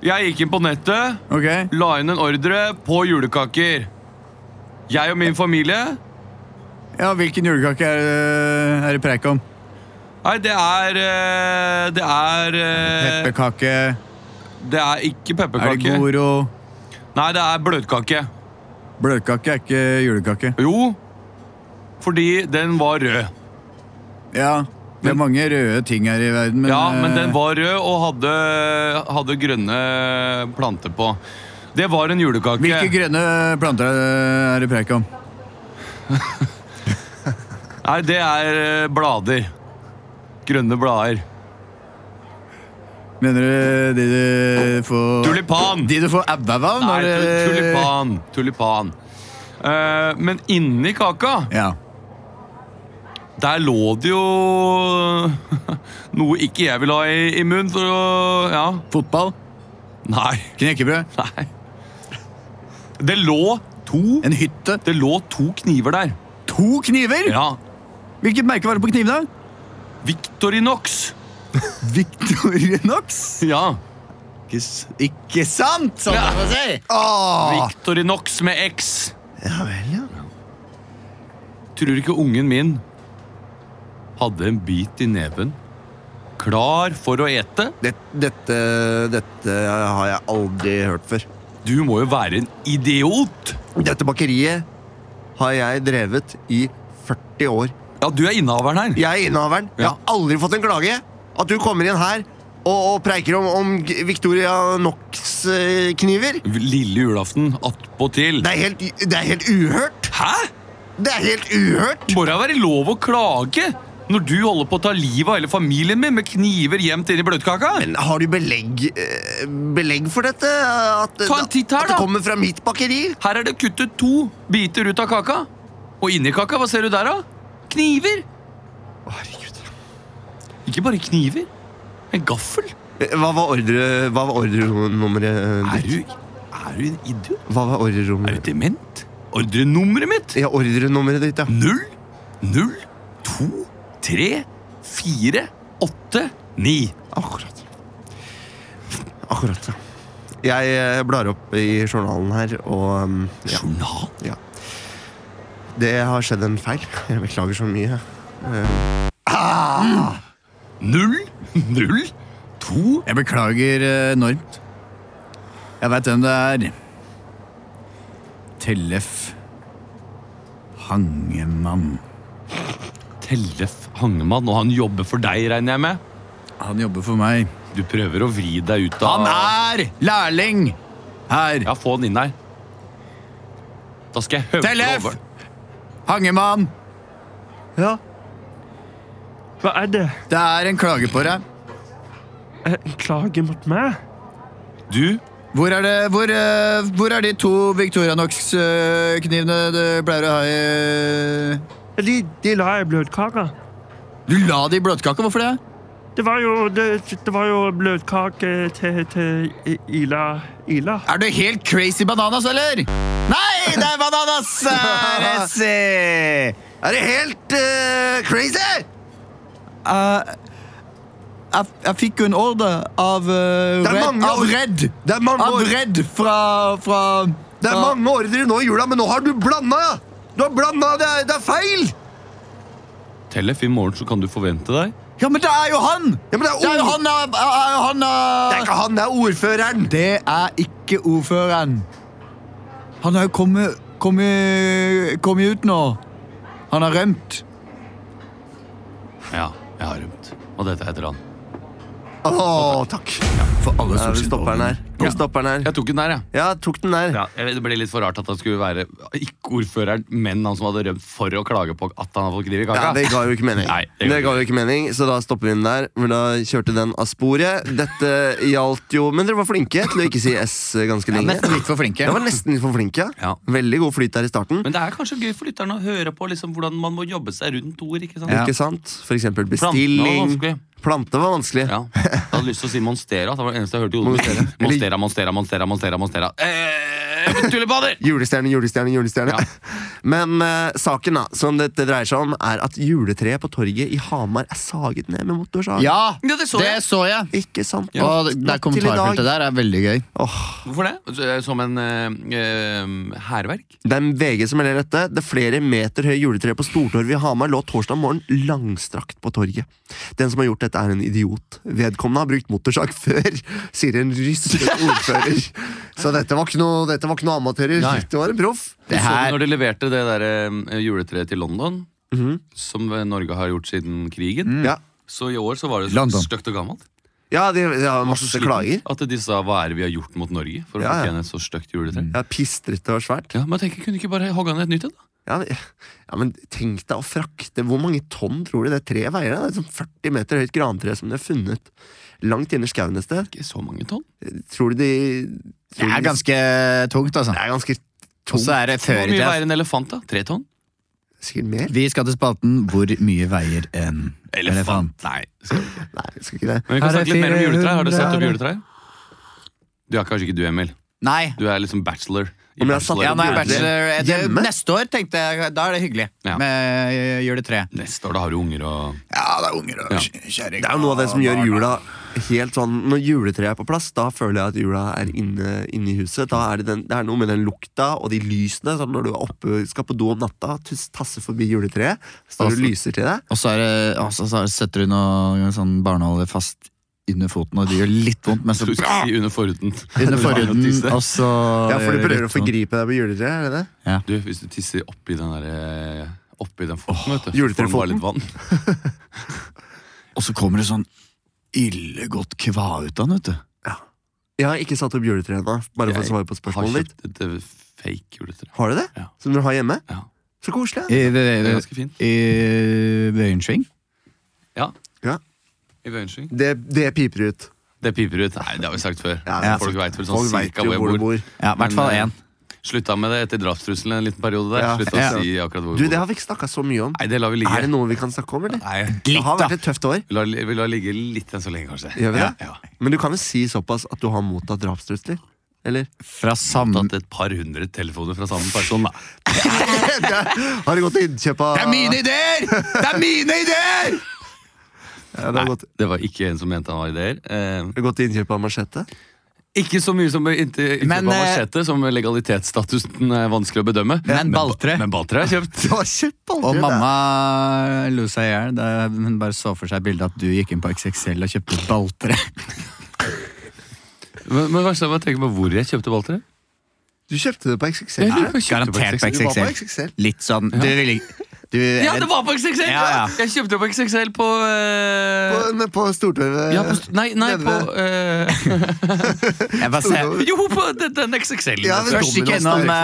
C: Jeg gikk inn på nettet,
A: Ok.
C: la inn en ordre på julekaker. Jeg og min familie
A: Ja, Hvilken julekake er, øh, er det preik om?
C: Nei, det er eh, Det er eh,
A: Pepperkake?
C: Det er ikke
A: Er det
C: pepperkake.
A: goro?
C: Nei, det er bløtkake.
A: Bløtkake er ikke julekake.
C: Jo, fordi den var rød.
A: Ja, det er mange røde ting her i verden, men,
C: Ja, men
A: øh,
C: den var rød og hadde, hadde grønne planter på. Det var en julekake.
A: Hvilke grønne planter øh, er det preik om?
C: Nei, det er eh, blader. Grønne blader.
A: Mener du de du får
C: Tulipan!
A: De du får abbaua av?
C: Nei,
A: når,
C: tu-
A: øh,
C: tulipan. Tulipan. Eh, men inni kaka,
A: Ja.
C: der lå det jo noe ikke jeg vil ha i, i munnen, for å Ja.
A: Fotball?
C: Nei.
A: Knekkebrød?
C: Nei. Det lå to
A: En hytte?
C: Det lå to kniver der.
A: To kniver?
C: Ja.
A: Hvilket merke var det på knivene?
C: Victorinox.
A: Victorinox?
C: Ja.
A: Ikke, s- ikke sant, som man må si!
B: Ah!
C: Victorinox med X. Tror ikke ungen min hadde en bit i neven klar for å ete?
B: Det, dette, dette har jeg aldri hørt før.
C: Du må jo være en idiot!
B: Dette bakeriet har jeg drevet i 40 år.
C: Ja, du er innehaveren her.
B: Jeg er innehaveren. Jeg har aldri fått en klage. At du kommer inn her og, og preiker om, om G- Victoria Knox-kniver.
C: Lille julaften, attpåtil.
B: Det, er helt- det er helt uhørt!
C: Hæ?!
B: Det er helt uhørt!
C: Må da være lov å klage når du holder på å ta livet av hele familien min med kniver gjemt inni bløtkaka?
B: Men har du belegg, eh, belegg for dette? At,
C: Ta en titt her,
B: at det
C: da.
B: kommer fra mitt bakeri?
C: Her er det kuttet to biter ut av kaka. Og inni kaka, hva ser du der, da? Kniver!
B: Herregud.
C: Ikke bare kniver. En gaffel.
B: Eh, Hva var ordre... Hva var ordrenummeret
C: Er
B: ditt?
C: du, er du en idiot?
B: Hva var
C: Er du
B: ordrenummeret?
C: dement? Ordrenummeret mitt?
B: Ja, ordrenummeret ditt, ja.
C: Null, null, to, tre, fire, åtte, ni.
B: Akkurat. Akkurat, ja. Jeg eh, blar opp i journalen her, og um, ja,
C: Journal?
B: det har skjedd en feil. Jeg beklager så mye.
C: Null, null, to
A: Jeg beklager eh, enormt. Jeg veit hvem det er. Tellef Hangemann.
C: Tellef Hangemann, og han jobber for deg, regner jeg med?
A: Han jobber for meg.
C: Du prøver å vri deg ut av
A: Han er lærling her.
C: Ja, få han inn her. Da skal jeg høvle
A: Tellef!
C: over.
A: Hangemann,
F: Ja, hva er det?
A: det er en klage på deg.
F: En klage mot meg?
C: Du
A: Hvor er, det, hvor, eh, hvor er de to Victorinox-knivene du pleier å ha i
F: De, de la jeg bløtkaka.
A: Du la de i bløtkaka, hvorfor det?
F: Det var jo, det, det var jo bløtkake til, til I- Ila. Ila.
A: Er du helt crazy bananas, eller? Nei, det er bananas! eh, Resi!
B: Er det helt eh, crazy?!
A: Eh, jeg, jeg fikk jo en ordre av eh,
B: Det er
A: Red,
B: mange
A: av
B: ord-
A: Red.
B: Det er mange
A: Av
B: ord-
A: Red fra, fra
B: Det er
A: fra-
B: mange ordre nå i jula, men nå har du blanda! Du har blanda, det er, det er feil!
C: Tellef, i morgen så kan du forvente deg.
A: Ja, men det er jo han!
B: Ja, men det er,
A: Det er jo
B: ord-
A: han, er, er, er han
B: Det er
A: er...
B: ikke han, det er ordføreren!
A: Det er ikke ordføreren. Han har jo kommet, kommet, kommet ut nå. Han har rømt.
C: Ja, jeg har rømt. Og dette heter han.
B: Å, takk.
A: For alle
B: Da er vi stopperen her. Kom, stopp den her.
C: Jeg tok den der, jeg.
B: Ja, tok den der.
C: Ja, jeg vet, det ble litt for rart at han skulle være ikke ordføreren, men han som hadde rømt for å klage på at han hadde fått kniv i kaka.
B: Ja, det ga jo ikke mening.
C: Nei, det
B: det,
C: gjorde
B: ga jo ikke mening, Så da stopper vi den der. Men da kjørte den av sporet. Dette gjaldt jo Men dere var flinke til å ikke si S ganske lenge.
A: Nesten litt for flinke.
B: Dere var nesten litt for flinke.
C: Ja.
B: Veldig god flyt der i starten.
C: Men det er kanskje gøy for lytterne å høre på liksom, hvordan man må jobbe seg rundt ord. ikke sant?
A: Ja.
B: Ikke sant? For eksempel
C: Plantene var
B: bestilling.
C: vanskelig.
B: Plante var vanskelig.
C: Ja. Jeg hadde lyst til å si Monstera. Det var det eneste jeg hørte i hodet. mitt. Monstera, Monstera, Monstera, Monstera. monstera. Eh, Tullebader!
B: Julestjerne, julestjerne, julestjerne.
C: Ja.
B: Men eh, saken da, som dette dreier seg om, er at juletreet på torget i Hamar er saget ned med motorsag.
A: Ja,
C: Ja, det så jeg.
A: så jeg.
B: Ikke sant?
A: Og det- det
B: Natt- natt til i dag.
A: kommentarfeltet der er veldig gøy.
C: Hvorfor det? Som en eh, eh, hærverk?
B: Det er VG som melder dette. Det flere meter høye juletreet på Stortorvet i Hamar lå torsdag morgen langstrakt på torget. Den som har gjort dette, er en idiot. Vedkommende har brukt motorsag før, sier en rystet ordfører. Så dette var ikke noe, dette var ikke noe amatører.
C: Nei.
B: Det var en proff.
C: Det
A: her-
C: Så du når de leverte det der, eh, juletreet til London, som eh, Norge har gjort siden krigen.
B: Ja,
C: Så i år så var det
A: London.
C: så stygt og gammelt.
B: ja de ja, masse
C: Sliten.
B: klager.
C: At de sa 'hva er det vi har gjort mot Norge' for å
B: Ja, Mm. ja.
C: fortjene et så stygt juletre.
B: Ja, Pistrete og svært.
C: Ja, men jeg tenker, Kunne du ikke bare hogge ned et nytt et? da?
B: Ja, men- ja, men tenk deg å frakte Hvor mange tonn tror du det treet veier? da? Det er sånn 40 meter høyt grantre som de har funnet langt inne i skauen et sted.
C: Ikke så mange tonn.
B: Tror du de
A: Det
B: tror
A: er
B: du de-
A: ganske tungt, altså.
B: det er ganske
A: Og
B: tungt.
A: så er det
C: Hvor
A: før i
C: mye
A: tida.
C: veier en elefant? da? Tre tonn?
B: Sikkert mer?
A: Vi skal til spalten Hvor mye veier en elefant?
C: Nei. skal vi ikke.
B: Nei, jeg skal ikke det.
C: Men vi kan
A: Her er
C: snakke litt mer om
A: 400.
C: juletrær. Har du sett opp juletrær? Du er kanskje ikke du, Emil.
A: Nei.
C: Du er liksom bachelor. i
B: Om jeg har satt-
A: Ja, nå
C: bachelor-
A: er jeg bachelor. Det,
B: Hjemme?
A: neste år tenkte jeg, da er det hyggelig
C: Ja.
A: med eh, ø, juletre.
C: Neste år da har du unger og
A: Ja, det er unger og
C: Ja.
A: kjerring.
B: Det er jo noe av det som gjør jula helt sånn Når juletreet er på plass, da føler jeg at jula er inne, inne i huset. Da er det, den, det er noe med den lukta og de lysene. Sånn når du er oppe, skal på do om natta, tus- tasser forbi juletreet, står du og
A: Altså-
B: lyser til det.
A: Og så er det- og så- så er det- setter du noe sånn barneholder fast under foten, og det gjør litt vondt, men så
C: Skulle si under forhuden.
A: under forhuden, og så
B: Ja, for
A: gjør
B: de
A: det litt sånn.
B: prøver å
C: sånn.
A: vondt.
B: forgripe deg på juletreet, er det det?
C: Du, hvis du tisser oppi den der, eh, Oppi den foten, vet du. så
B: juletrefoten.
C: får den bare litt vann.
A: Og så kommer det sånn ille godt kva ut av den, vet du.
B: Jeg har ikke satt opp juletreet ennå, bare for å
C: Jeg
B: svare på
C: Har
B: spørsmålet ditt.
C: kjøpt et eh, fake juletre.
B: Har du det?
C: Ja.
B: Som dere har hjemme?
C: Ja.
B: Så koselig. ja.
A: I, i,
C: Det er
A: i,
C: ganske fint.
A: i Vøyensving.
C: Ja.
B: Ja.
C: I Vøyensving.
B: Det, det piper ut.
C: Det piper ut. Nei, det har vi sagt før.
B: Ja,
A: det er
C: Folk veit vel sånn
B: Folk veit
C: cirka
B: jo hvor
C: hvor
B: du
C: jeg bor.
B: bor.
A: Ja, i hvert fall
C: Men,
A: én.
C: eh, Slutta med det etter drapstrusselen en liten periode der.
B: Ja,
C: Slutta
A: ja.
C: å si akkurat hvor
B: Du,
C: jeg
B: det
C: bor.
B: har vi ikke snakka så mye om.
C: Nei, det lar vi ligge.
B: Er det noe vi kan snakke om, eller?
C: Nei,
A: eh,
B: Det har vært et tøft år.
C: vi lar, vi lar ligge litt enn så lenge, kanskje.
B: Gjør vi
C: ja,
B: det?
C: Ja.
B: Men du kan jo si såpass at du har mottatt drapstrusler? Eller?
A: Fra samme
C: Tatt et par hundre telefoner fra samme person, da.
B: Har du gått til innkjøp av
A: ideer! Det er mine ideer!
B: Ja, det har gått,
C: Det var ikke en som mente han var ideer. Eh,
B: har du gått til innkjøp av machete?
C: ikke så mye som inntil
A: Men,
C: innkjøp av
A: eh,
C: machete, som legalitetsstatusen er vanskelig å bedømme.
A: Men balltre.
C: Men balltre er kjøpt.
B: Du har kjøpt aldri
A: Og
B: det.
A: mamma lo seg i hjel. da Hun bare så for seg bildet at du gikk inn på XXL og kjøpte balltre.
C: Men, men verst er at jeg tenker på hvor jeg kjøpte balltre.
B: Du kjøpte det på XXL?
C: Jeg lurer
B: ikke?
C: på om jeg kjøpte på
A: Garantert på
B: Du var på
A: XXL.
B: XXL.
A: Litt sånn Du ville ikke du,
C: Ja, det var på XXL!
A: Ja, ja.
C: Jeg kjøpte på XXL på
B: På,
C: eh,
B: men på Stortorvet?
C: ja, på, st- Nei, nei, på eh,
A: Jeg bare ser
C: Jo, på den, den XXL-en.
B: Ja, men-
A: Først gikk jeg innom
C: I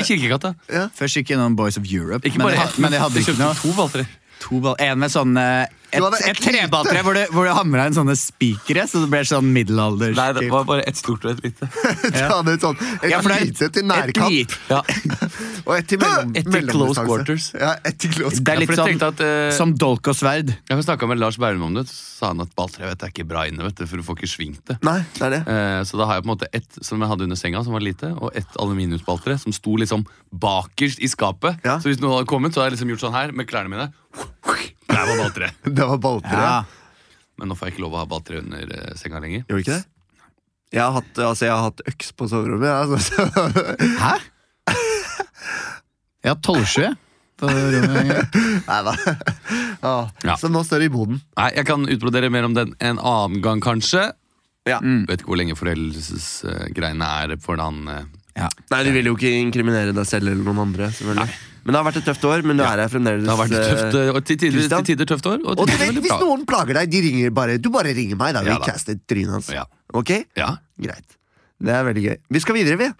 A: eh,
C: Kirkegata.
A: Først gikk jeg innom Boys of Europe,
C: Ikke
A: men,
C: bare
A: jeg,
C: ett,
A: had- men jeg hadde ikke
C: kjøpte
A: noe.
C: to balltre.
A: To ball, en med sånn eh,
B: Du
A: Et,
B: hadde
A: et
B: et lite.
A: treballtre hvor du, hvor du hamra inn sånne spikere, så det ble sånn middelalders.
C: Nei, det var bare ett stort og et lite.
B: Ja, det er sånn, et
A: Ja, for det er-
B: lite til
A: Et
B: nærkamp
A: lit-
C: Ja,
B: og et til mellom,
C: Et til close
B: mellomdistanse.
C: quarters.
B: Ja, et til close
A: Det er litt
C: for jeg
A: sånn
C: tenkte at eh,
A: som dolk og sverd.
C: Jeg snakka med Lars Berrum om det, så sa han at balltre vet, du, er ikke bra inne, vet du, for du får ikke svingt det.
B: Nei, det er det.
C: Eh, Så da har jeg på en måte ett som jeg hadde under senga, som var lite, og ett aluminiumsballtre som sto liksom bakerst i skapet.
B: Ja.
C: Så hvis noen hadde kommet, så hadde jeg liksom gjort sånn her med klærne mine. Der var balltreet.
B: Det var balltre.
A: Ja.
C: Men nå får jeg ikke lov å ha balltre under eh, senga lenger.
B: Gjorde du ikke det? Jeg har hatt, altså, jeg har hatt øks på soverommet. jeg, Altså,
A: Hæ?
B: så.
A: Jeg har tolvsjø. på rommet.
B: Nei, hva? Ah,
C: Ja.
B: Så nå står det i boden.
C: Nei, jeg kan utbrodere mer om den en annen gang, kanskje. Mm.
B: Ja.
C: Vet ikke hvor lenge foreldelsesgreiene er for han eh,
B: Nei, Du vil jo ikke inkriminere deg selv eller noen andre. selvfølgelig Men det har vært et tøft år, men du er her fremdeles.
C: Det har vært et tøft,
B: eh,
C: eh, og til tider,
B: Christian?
C: til tider tøft år. Og
B: Og
C: til
B: du
C: tider
B: vet,
C: veldig
B: hvis
C: bra.
B: noen plager deg, de ringer bare, du bare ringer meg. da Vi
C: Ja da.
B: caster trynet hans.
C: Ja.
B: Ok?
C: Ja.
B: Greit. Det er veldig gøy. Vi skal videre, vi.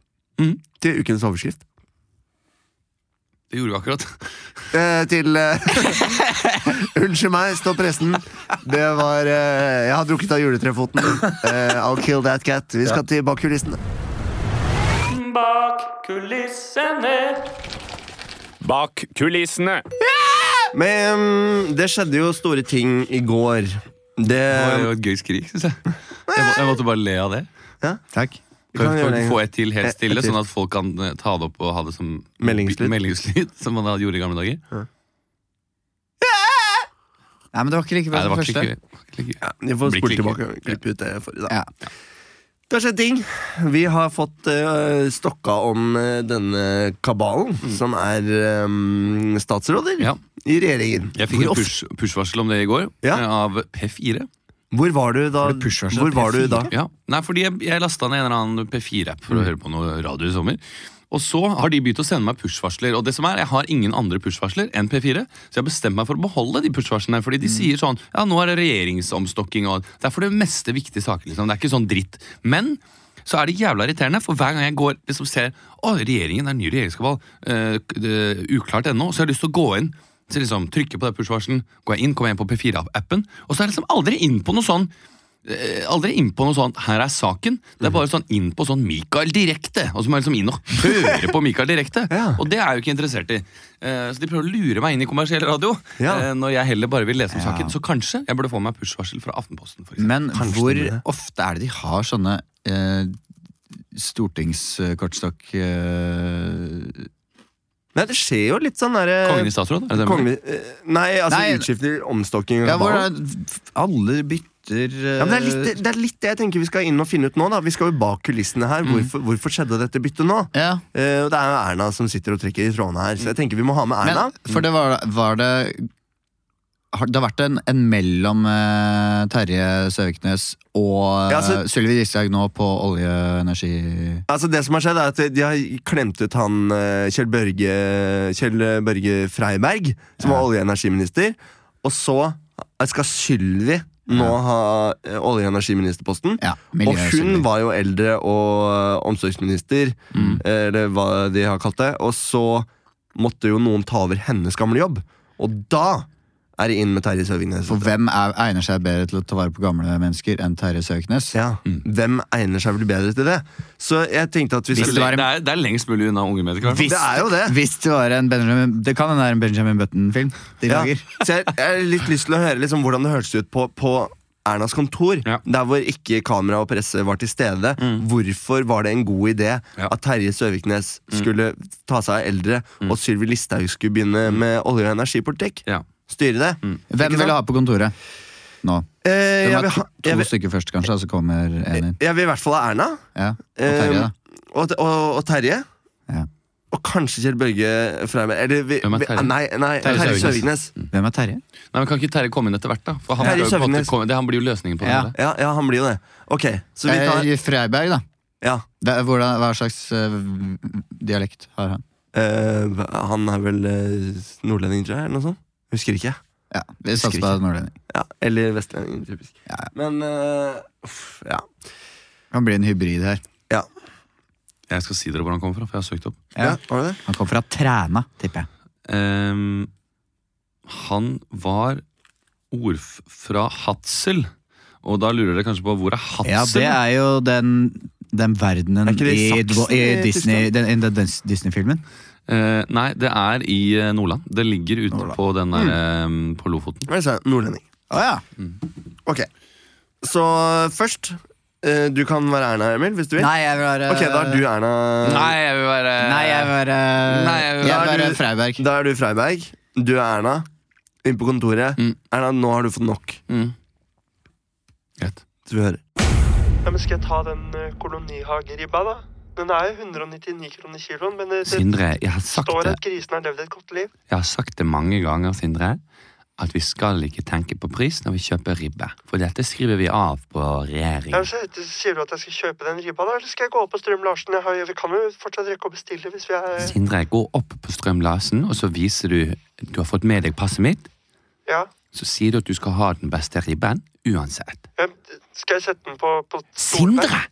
C: Mhm.
B: Til ukens overskrift.
C: Det gjorde vi akkurat.
B: Eh, til eh, Unnskyld meg, stopp pressen. Det var eh, Jeg har drukket av juletrefoten. Eh, I'll kill that cat. Vi skal til bak kulissene.
F: Bak kulissene.
E: Bak kulissene.
B: Men mm, det skjedde jo store ting i går. Det
C: Det var jo et gøy skrik, syns jeg. Jeg, må, jeg måtte bare le av det.
B: ja,
A: Takk.
B: vi
C: Kan
B: kan
C: vi
B: gjøre det.
C: få et til helt
B: Et-
C: stille,
B: et til.
C: sånn at folk kan eh, ta det opp og ha det som
B: Meldingslyd.
C: meldingslyd, som man hadde gjorde i gamle dager?
A: Nei, men det var ikke like bra
C: Nei, det
A: som
C: var
A: første.
C: ikke like- det var ikke like gøy.
B: Vi får
C: Blir
B: spole
C: klikker.
B: tilbake og klippe ut det forrige. Da.
A: Ja.
B: Det har skjedd ting. Vi har fått eh, stokka om eh, denne kabalen, som er eh, statsråder
C: Mm. Ja.
B: i regjeringen.
C: Jeg fikk
B: Hvor
C: en
B: ofte-
C: push- push-varsel om det i går,
B: Ja.
C: eh, av P4.
B: Hvor var du da?
A: Var det push-varsel?
B: Hvor var du da?
C: Ja, Nei, fordi jeg, jeg lasta ned en eller annen P4-app for å høre på noe radio i sommer. Og så har de begynt å sende meg push-varsler. Og det som er, jeg har ingen andre push-varsler enn P4, så jeg har bestemt meg for å beholde de push-varslene. Fordi de sier sånn Ja, nå er det regjeringsomstokking, og det er for det meste viktige saker, liksom. Det er ikke sånn dritt. Men så er det jævla irriterende, for hver gang jeg går liksom ser Å, regjeringen er en ny regjeringskabal. eh, k- det er uklart ennå. Så har jeg lyst til å gå inn. Så liksom trykker på det push-varselen, går jeg inn, kommer jeg inn på P4-appen, og så er jeg liksom aldri inn på noe sånn eh, aldri inn på noe sånt 'her er saken'. Det er bare sånn inn på sånn 'Michael direkte'. Og så må jeg liksom inn og høre på Michael direkte.
B: Ja.
C: Og det er jeg jo ikke interessert i. Eh, Så de prøver å lure meg inn i kommersiell radio.
B: Ja.
C: eh, Når jeg heller bare vil lese om saken. Så kanskje jeg burde få meg push-varsel fra Aftenposten. For eksempel.
A: Men hvor
B: det.
A: ofte er det de har sånne eh, stortingskortstokk eh,
B: Nei, det skjer jo litt sånn derre
C: Kongen i statsråd? Er det det du mener?
B: Kongelig- eh, Nei, altså
A: Nei.
B: utskifter, omstokking og
A: Ja, hvor
B: kabalen.
A: er, alle bytter eh,
B: Ja, men det, er litt, det er litt det jeg tenker vi skal inn og finne ut nå. da Vi skal jo bak kulissene her.
A: Mm.
B: Hvorfor, hvorfor skjedde dette byttet nå?
A: ja.
B: Eh, og det er jo Erna som sitter og trekker i trådene her, så jeg tenker vi må ha med Erna.
A: Mm. Men, for det var, var det har, Det har vært en, en mellom eh, Terje Søviknes og
B: Ja,
A: ja,
B: altså-
A: Sylvi Listhaug nå på olje og energi...
B: Altså Det som har skjedd, er at de har klemt ut han eh, Kjell Børge Kjell Børge Freiberg, som var olje- og energiminister. Og så skal Sylvi nå ha eh, olje- og energiministerposten.
A: Ja,
B: Og hun
A: miljøsynlig.
B: var jo eldre og eh, omsorgsminister,
A: Mm.
B: eh, eller hva de har kalt det. Og så måtte jo noen ta over hennes gamle jobb. Og da er det inn med Terje Søviknes.
A: For hvem er, egner seg bedre til å ta vare på gamle mennesker enn Terje Søviknes?
B: Ja, Hvem egner seg vel bedre til det? Så jeg tenkte at vi
C: Det
B: skulle
C: er, det er- det er lengst mulig unna unge mennesker.
B: Det er jo det!
A: Hvis det var en Benjamin Det kan hende det er en Benjamin Button-film de
B: Ja.
A: lager.
B: Så jeg, jeg har litt lyst til å høre liksom, hvordan det hørtes ut på, på Ernas kontor,
C: Ja. Mm.
B: der hvor ikke kamera og presse var til stede. Hvorfor var det en god idé
C: Ja. Mm.
B: at Terje Søviknes skulle ta seg av eldre, og Sylvi Listhaug skulle begynne med olje- og energipolitikk?
C: Mm. Ja. Mm.
B: Styre det?
A: Hvem vil
B: Ikke sant?
A: ha på kontoret nå? Det
B: Eh, jeg,
A: var
B: vil ha,
A: to, to
B: jeg, vil,
A: stykker først, kanskje, og så kommer en inn.
B: jeg vil i hvert fall ha Erna.
A: Ja, og
B: Eh,
A: Terje, da.
B: og, og, og Terje.
A: Ja.
B: Og kanskje Kjell Børge Freimer. Eller vi,
C: Hvem er
B: vi-
C: Terje?
B: Nei, nei
C: Terje
B: Terje
C: Søviknes.
B: Søviknes.
A: Hvem er Terje?
C: Nei, men Kan ikke Terje komme inn etter hvert? da? For han,
B: Terje
C: skal jo på en måte
B: Søviknes.
C: komme- det, han blir jo løsningen på det.
A: Ja.
C: hele.
B: Ja, ja, han blir jo det. Ok, så vi tar
A: Eh, Freiberg, da.
B: ja.
A: Hva- Hvordan, hva slags eh, dialekt har han?
B: Eh, han er vel eh, nordlending, tror jeg, eller noe sånt. Husker ikke.
A: Ja, Vi satser på
B: Husker ikke.
A: nordlending.
B: Ja, eller vestlending, typisk. Men eh, uff, ja.
A: Han blir en hybrid her.
B: Ja.
C: Jeg skal si dere hvor han kommer fra, for jeg har søkt opp.
B: ja.
A: Ja.
B: Var det det?
A: Han kommer fra Træna, tipper jeg.
C: Ehm, han var ordf fra Hadsel. Og da lurer dere kanskje på hvor er Hadsel?
A: Ja, det er jo den, den verdenen
B: Er ikke det
A: i,
B: i Saksen
A: i
B: i
A: Disney,
B: Tyskland?
A: den, i den Dis- Disney-filmen.
C: Eh, nei, det er i eh, Nordland. Det ligger ute på den der
A: Mm.
C: ehm, på Lofoten.
B: Hva er det jeg sa? Nordlending.
A: Å ja.
B: Ok. Så først eh, Du kan være Erna, Emil, hvis du vil.
A: Nei, jeg vil være
B: Ok, da er du Erna.
C: Nei, jeg vil være
A: Nei, jeg vil være
C: Nei, jeg
A: jeg
C: vil
A: vil
B: være-
A: være Freiberg.
B: Da er du Freiberg. Du er Erna. Inn på kontoret.
C: Mm.
B: Erna, nå har du fått nok.
C: Mm. Greit.
B: Du hører.
F: Ja, men skal jeg ta den eh, kolonihageribba, da? Den er jo 199 kroner kiloen, men det, det
C: Sindre, jeg har sagt
F: står
C: det
F: at grisen har levd et godt liv.
C: Jeg har sagt det mange ganger, Sindre, at vi skal ikke tenke på pris når vi kjøper ribbe. For dette skriver vi av på
F: Ja,
C: regjeringen.
F: så heter- sier du at jeg skal kjøpe den ribba, da? Eller skal jeg gå opp på Strøm-Larsen? Jeg har jo- Vi kan jo fortsatt rekke å bestille hvis vi er
C: Sindre, gå opp på Strøm-Larsen, og så viser du du har fått med deg passet mitt.
F: Ja.
C: Så sier du at du skal ha den beste ribben uansett.
F: ja, Skal jeg sette den på, på
C: Sindre!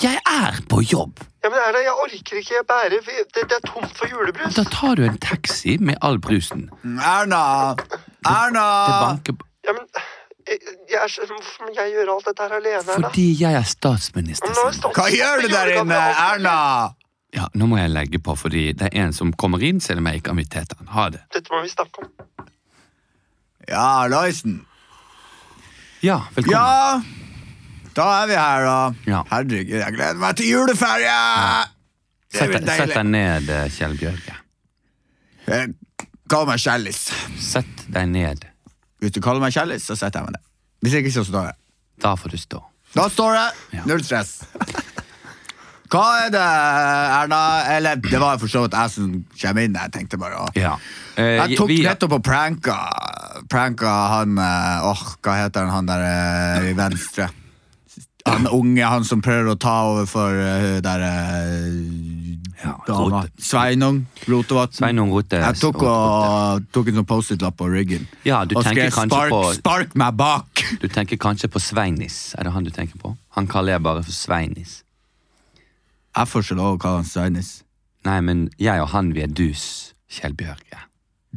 C: Jeg er på jobb.
B: Ja, men Erna, jeg orker ikke bære Det, er tomt for julebrus.
C: Da tar du en taxi med all brusen.
A: Erna!
C: Det
A: Erna!
C: banker på-
B: Ja, men jeg er så, Hvorfor må jeg gjøre alt dette her alene,
C: Fordi jeg er statsminister. Sandra.
A: Hva gjør du der inne, Erna?
C: Ja, nå må jeg legge på, fordi det er en som kommer inn, selv om jeg ikke har invitert han. Ha det.
B: Dette må vi snakke om.
A: Ja, Loisen.
C: Ja, velkommen.
A: Ja, da er vi her, da.
C: Ja.
A: Herregud, jeg gleder meg til juleferie! Det
C: Sett
A: blir
C: deg- Sett deg
A: deilig.
C: ned, eh, Kjell Bjørge.
A: Eh, Kall meg Kjellis.
C: Sett deg ned.
A: Hvis du kaller meg Kjellis, så setter jeg meg ned. Hvis ikke, så står jeg.
C: Da får du stå.
A: Da står jeg.
C: Ja.
A: Null stress. Hva er det, Erna? Eller, det var for så vidt jeg som kommer inn. Jeg tenkte bare å
C: Ja. Eh,
A: Jeg tok
C: vi-
A: nettopp og pranka Pranka han eh, Åh, hva heter han, han der eh, i venstre? Han unge, han som prøver å ta over for eh, hun der eh,
C: Ja,
A: dama.
C: Rote.
A: Sveinung Rotevatn.
C: Sveinung Rote-
A: Jeg tok, og, tok en sånn Post-It-lapp på ryggen
C: Ja, du
A: og
C: tenker
A: skrev
C: kanskje
A: spark,
C: på-
A: 'Spark meg bak'!
C: Du tenker kanskje på Sveinis. Er det han du tenker på? Han kaller jeg bare for Sveinis.
A: Jeg får ikke lov å kalle han Sveinis.
C: Nei, men jeg og han, vi er dus, Kjell Bjørge.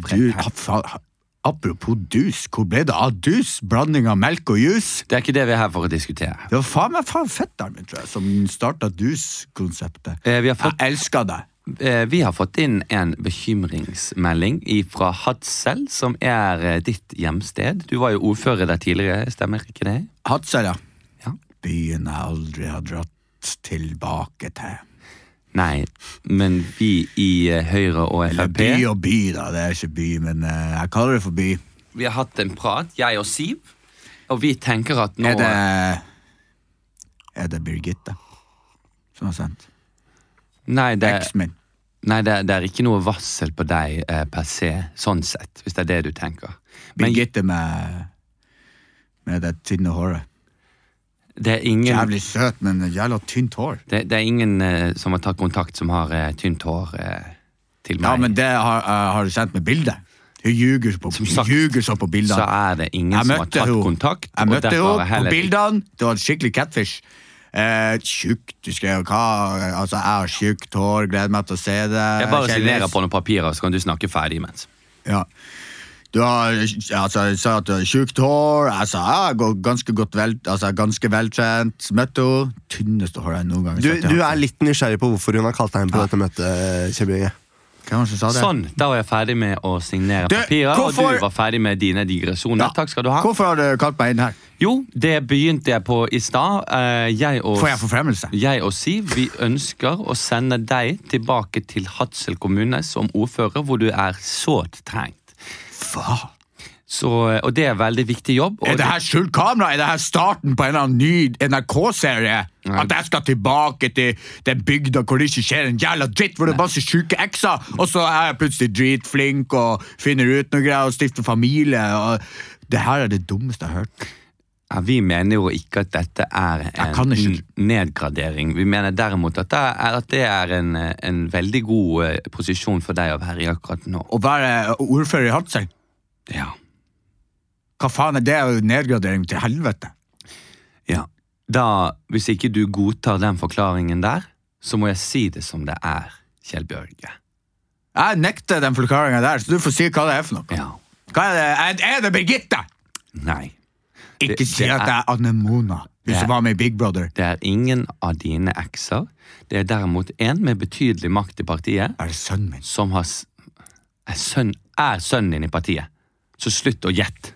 A: Du, hva faen? Apropos dus, hvor ble det av dus? Blanding av melk og juice?
C: Det er ikke det vi er her for å diskutere.
A: Det var faen meg faen fetteren min, tror jeg, som starta dus-konseptet.
C: Eh, vi, har fått,
A: Jeg elsker deg.
C: eh, vi har fått inn en bekymringsmelding fra Hadsel, som er eh, ditt hjemsted. Du var jo ordfører der tidligere, stemmer ikke det?
A: Hadsel, ja.
C: Ja.
A: Byen jeg aldri har dratt tilbake til.
C: Nei, men vi i eh, Høyre og
A: Eller by
C: Frp
A: og by, da. Det er ikke by, men eh, jeg kaller det for by.
C: Vi har hatt en prat, jeg og Siv, og vi tenker at nå
A: Er det eh, Er det Birgitte som har sendt?
C: Nei, det,
A: Eksen min.
C: nei det, det er ikke noe varsel på deg eh, per se, sånn sett, hvis det er det du tenker. Men
A: Birgitte med Med det tynne håret.
C: det er ingen,
A: Jævlig søt, men jævla tynt hår.
C: det, det er ingen eh, som har tatt kontakt, som har eh, tynt hår eh, til meg.
A: Ja, men det har, eh, har du sendt med bilde. Hun ljuger på-
C: Som sagt,
A: hun ljuger så på bildene.
C: så er det ingen
A: Jeg
C: som har
A: møtte
C: tatt
A: henne.
C: kontakt.
A: Jeg
C: og
A: møtte
C: derfor
A: henne
C: har jeg
A: på
C: heller ikke-
A: bildene. Det var en skikkelig catfish. Eh, tjukt, du skrev hva Altså, jeg har tjukt hår, gleder meg til å se det.
C: Jeg bare
A: Kjendis.
C: signerer på noen papirer, så kan du snakke ferdig imens.
A: Ja. Du har, altså, jeg sa at du har tjukt hår. Jeg sa jeg går ganske godt vel, altså, jeg er ganske veltrent. Møtte henne. Tynneste håret jeg noen gang har
B: Du,
A: sett. i
B: du
A: Hansen.
B: er litt nysgjerrig på hvorfor hun har kalt deg inn på dette møtet, Kjell Bjørge.
A: Hvem var det som sa det?
C: Sånn, da var jeg ferdig med å signere
A: Du,
C: papirer,
A: hvorfor-
C: og du var ferdig med dine digresjoner.
A: Ja.
C: Takk skal du ha.
A: Hvorfor har du kalt meg inn her?
C: Jo, det begynte jeg på i stad. Eh, Jeg, og-
A: Får jeg forfremmelse?
C: jeg og Siv vi ønsker å sende deg tilbake til Hadsel kommune som ordfører, hvor du er sårt trengt.
A: Faen.
C: Så, og det er en veldig viktig jobb. Og
A: Er det her skjult kamera? Er det her starten på en eller annen ny NRK-serie? At jeg skal tilbake til den bygda hvor det ikke skjer en jævla dritt, hvor det er masse sjuke ekser, og så er jeg plutselig dritflink og finner ut noe greier og stifter familie. Og det her er det dummeste jeg har hørt.
C: Ja, vi mener jo ikke at dette er
A: kan
C: en
A: ikke.
C: n- nedgradering. Vi mener derimot at det er, at det er en, eh, en veldig god eh, posisjon for deg å være i akkurat nå.
A: Å være ordfører i Hadsel,
C: Ja.
A: hva faen er det? Det er jo nedgradering til helvete.
C: Ja. Da, hvis ikke du godtar den forklaringen der, så må jeg si det som det er, Kjell Bjørge.
A: Jeg nekter den forklaringa der, så du får si hva det er for noe.
C: Ja.
A: Hva er det? Er- Er det Birgitte?
C: Nei.
A: Ikke
C: Det-
A: si
C: det
A: at
C: er-
A: det er Anne Mona, hun
C: Det-
A: som var med i Big Brother.
C: Det er ingen av dine ekser. Det er derimot en med betydelig makt i partiet
A: Er det sønnen min?
C: som har s- er, sønn, er sønnen din i partiet. Så slutt å gjette.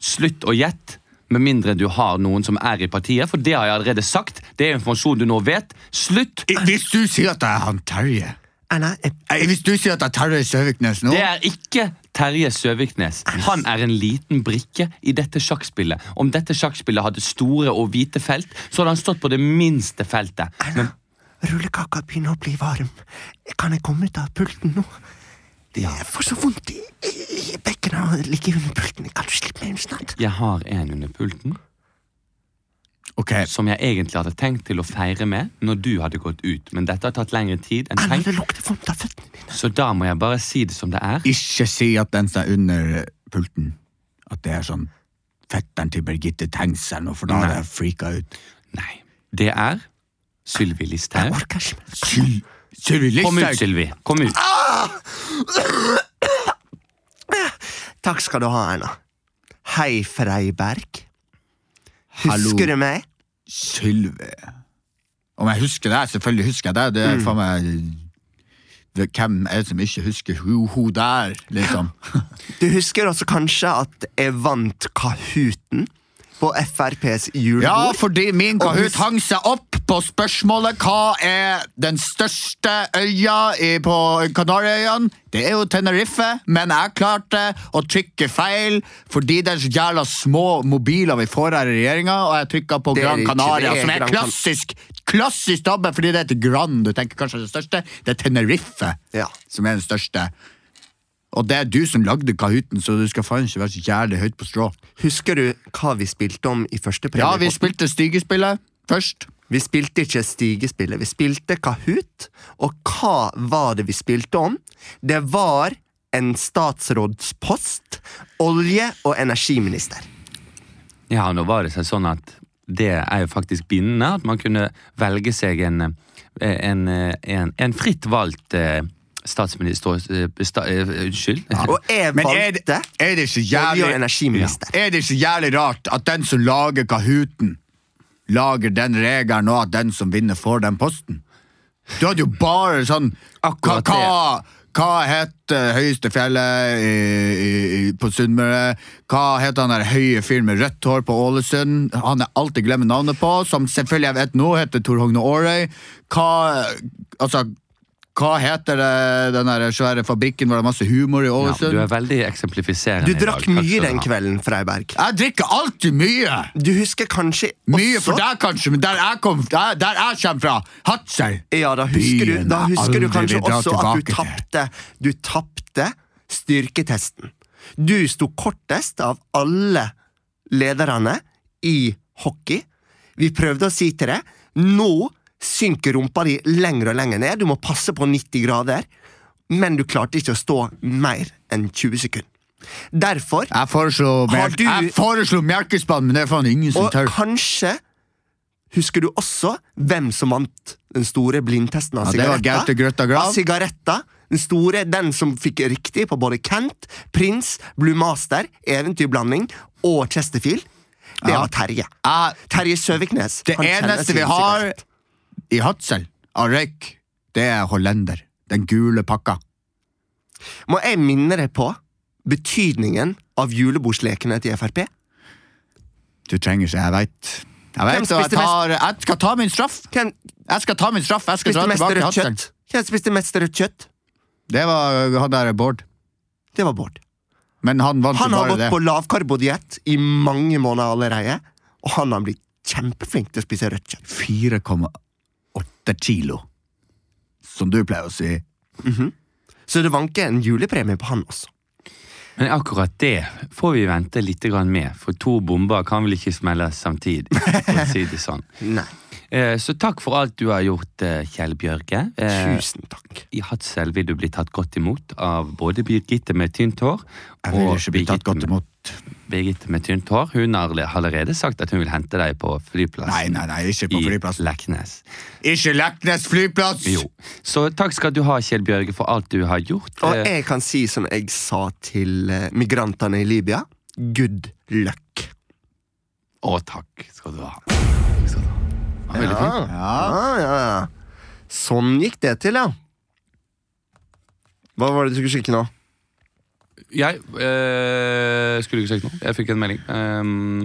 C: Slutt å gjette, med mindre du har noen som er i partiet, for det har jeg allerede sagt. Det er informasjon du nå vet. Slutt!
A: I- Hvis du sier at det er han Terje
B: Erna, jeg,
A: Nei, Hvis du sier at det er Terje Søviknes nå
C: Det er ikke Terje Søviknes. Han er en liten brikke i dette sjakkspillet. Om dette sjakkspillet hadde store og hvite felt, så hadde han stått på det minste feltet. Men
B: rullekaka begynner å bli varm. Kan jeg komme ut av pulten nå? Jeg får så vondt i, i, i bekkenet av å ligge under pulten. Kan du slippe meg inn snart?
C: jeg har en under pulten
A: Ok,
C: som jeg egentlig hadde tenkt til å feire med når du hadde gått ut, men dette har tatt lengre tid enn
B: Erna,
C: tenkt,
B: det lukter vondt av føttene mine.
C: så da må jeg bare si det som det er.
A: Ikke si at den som er under pulten At det er sånn Fetteren til Birgitte Tengs eller noe For da
C: Nei.
A: hadde jeg freaka ut
C: Nei. Det er Sylvi Listhaug.
A: Syl- Sylvi
C: Kom ut,
A: Listhaug!
C: Sylvi. Kom ut.
B: Takk skal du ha, Erna. Hei, Freiberg. Husker du meg?
A: Sylvi Om jeg husker deg, selvfølgelig husker jeg deg. Det
C: Mm.
A: er faen meg det, Hvem er det som ikke husker hun, hun der, liksom?
B: Du husker også kanskje at jeg vant Kahooten på FrPs julebord?
A: Ja, fordi min
B: Og
A: Kahoot
B: hus-
A: hang seg opp på spørsmålet hva er den største øya i, på Kanariøyene. Det er jo Tenerife, men jeg klarte å trykke feil fordi det er så jævla små mobiler vi får her i regjeringa, og jeg trykka på
B: Det er
A: Gran
B: ikke-
A: Canaria,
B: det er
A: som er
B: Gran Can-
A: klassisk klassisk tabbe, fordi det heter Gran. Du tenker kanskje det største? Det er Tenerife
B: Ja.
A: som er den største. Og det er du som lagde Kahooten, så du skal faen ikke være så jævlig høyt på strå.
B: Husker du hva vi spilte om i første
A: Ja,
B: premiepotten?
A: vi spilte Stygespillet først.
B: Vi spilte ikke Stigespillet, vi spilte Kahoot. Og hva var det vi spilte om? Det var en statsrådspost. Olje- og energiminister.
C: Ja, nå var det seg sånn at det er jo faktisk bindende at man kunne velge seg en, eh, en, eh, en, en fritt valgt eh, statsminister eh, sta, eh, Unnskyld.
B: Og jeg
A: Men er det,
B: valgte
A: er det ikke jævlig
B: olje- og energiminister.
A: Er det ikke jævlig rart at den som lager Kahooten, lager den regelen, og at den som vinner, får den posten? Du hadde jo bare sånn hva,
C: Akkurat det.
A: hva, hva het eh, høyeste fjellet i, i, i, på Sunnmøre? Hva het han der høye fyren med rødt hår på Ålesund? Han jeg alltid glemmer navnet på, som selvfølgelig jeg vet nå heter Tor Hogne Aarøy. Hva Altså, hva heter det, den der svære fabrikken hvor det er masse humor i
C: Ja,
A: Ålesund?
C: du er veldig eksemplifiserende.
B: Du
C: i dag.
B: drakk
C: Takk
B: mye
C: skal du
B: den
C: ha.
B: kvelden, Freiberg.
A: Jeg drikker alltid mye!
B: Du husker kanskje
A: Mye
B: også
A: for deg, kanskje, men der jeg, kom, der, der jeg kommer fra, Hadsel
B: Ja, da husker du,
A: Byen
B: da
A: jeg
B: husker du
A: aldri
B: kanskje
A: vil dra
B: også at du
A: tilbake
B: tapte Du tapte styrketesten. Du sto kortest av alle lederne i hockey. Vi prøvde å si til deg nå synker rumpa di lenger og lenger ned, du må passe på 90 grader, men du klarte ikke å stå mer enn 20 sekunder. Derfor,
A: Jeg foreslo,
B: Har
A: melk,
B: du-
A: jeg foreslo melkespann, men det er faen ingen som
B: og
A: tør.
B: kanskje Husker du også hvem som vant den store blindtesten av
A: Ja, det var Gaute
B: sigaretter?
A: Grøtta Grav.
B: av sigaretter. Den store, den som fikk riktig på både Kent, Prins, Blue Master, Eventyrblanding og Chesterfield. Det var Terje.
A: Jeg-
B: Terje Søviknes.
A: det
B: han kjenner
A: eneste
B: sin
A: vi har
B: sigarett.
A: i Hadsel av røyk, det er hollender. Den gule pakka.
B: Må jeg minne deg på betydningen av julebordslekene til Frp?
A: Du trenger ikke, jeg veit. Jeg
B: Hvem
A: vet, og jeg,
B: spiste mest-
A: tar, jeg skal ta min straff.
B: Hvem
A: Jeg skal ta min straff. Jeg skal dra
B: spiste mest
A: tilbake til
B: rødt
A: Hadsel.
B: kjøtt? Hvem spiste mest rødt kjøtt?
A: Det var øh, han der Bård.
B: Det var Bård.
A: Men han vant
B: Han
A: jo
B: har
A: bare
B: gått
A: det.
B: på lavkarbodiett i mange måneder allerede, og han har blitt kjempeflink til å spise rødt kjøtt.
A: 4,8 kilo. Som du pleier å si.
B: Så det vanker en julepremie på han også.
C: Men akkurat det får vi vente litt grann med, for to bomber kan vel ikke smelle samtidig. for å si det sånn.
B: Nei,
C: Eh, Så takk for alt du har gjort, eh, Kjell Bjørge. Eh,
B: tusen takk.
C: I Hadsel vil du bli tatt godt imot av både Birgitte med tynt hår
A: Jeg vil ikke bli tatt godt
C: med-
A: imot.
C: Birgitte med tynt hår hun har alle- allerede sagt at hun vil hente deg på
A: Nei,
C: flyplassen
A: nei, nei, ikke på
C: i
A: flyplassen.
C: Leknes.
A: Ikke Leknes flyplass!
C: Jo. Så takk skal du ha, Kjell Bjørge, for alt du har gjort.
B: Og
C: Eh,
B: jeg kan si som jeg sa til eh, migrantene i Libya, good luck.
C: Og takk skal du ha. Takk skal du ha. Det var veldig fint.
A: Ja.
B: Ah, ja, ja. Sånn gikk det til, ja. Hva var det du skulle sjekke nå?
C: Jeg eh, skulle ikke sjekke noe. Jeg fikk en melding. Ehm,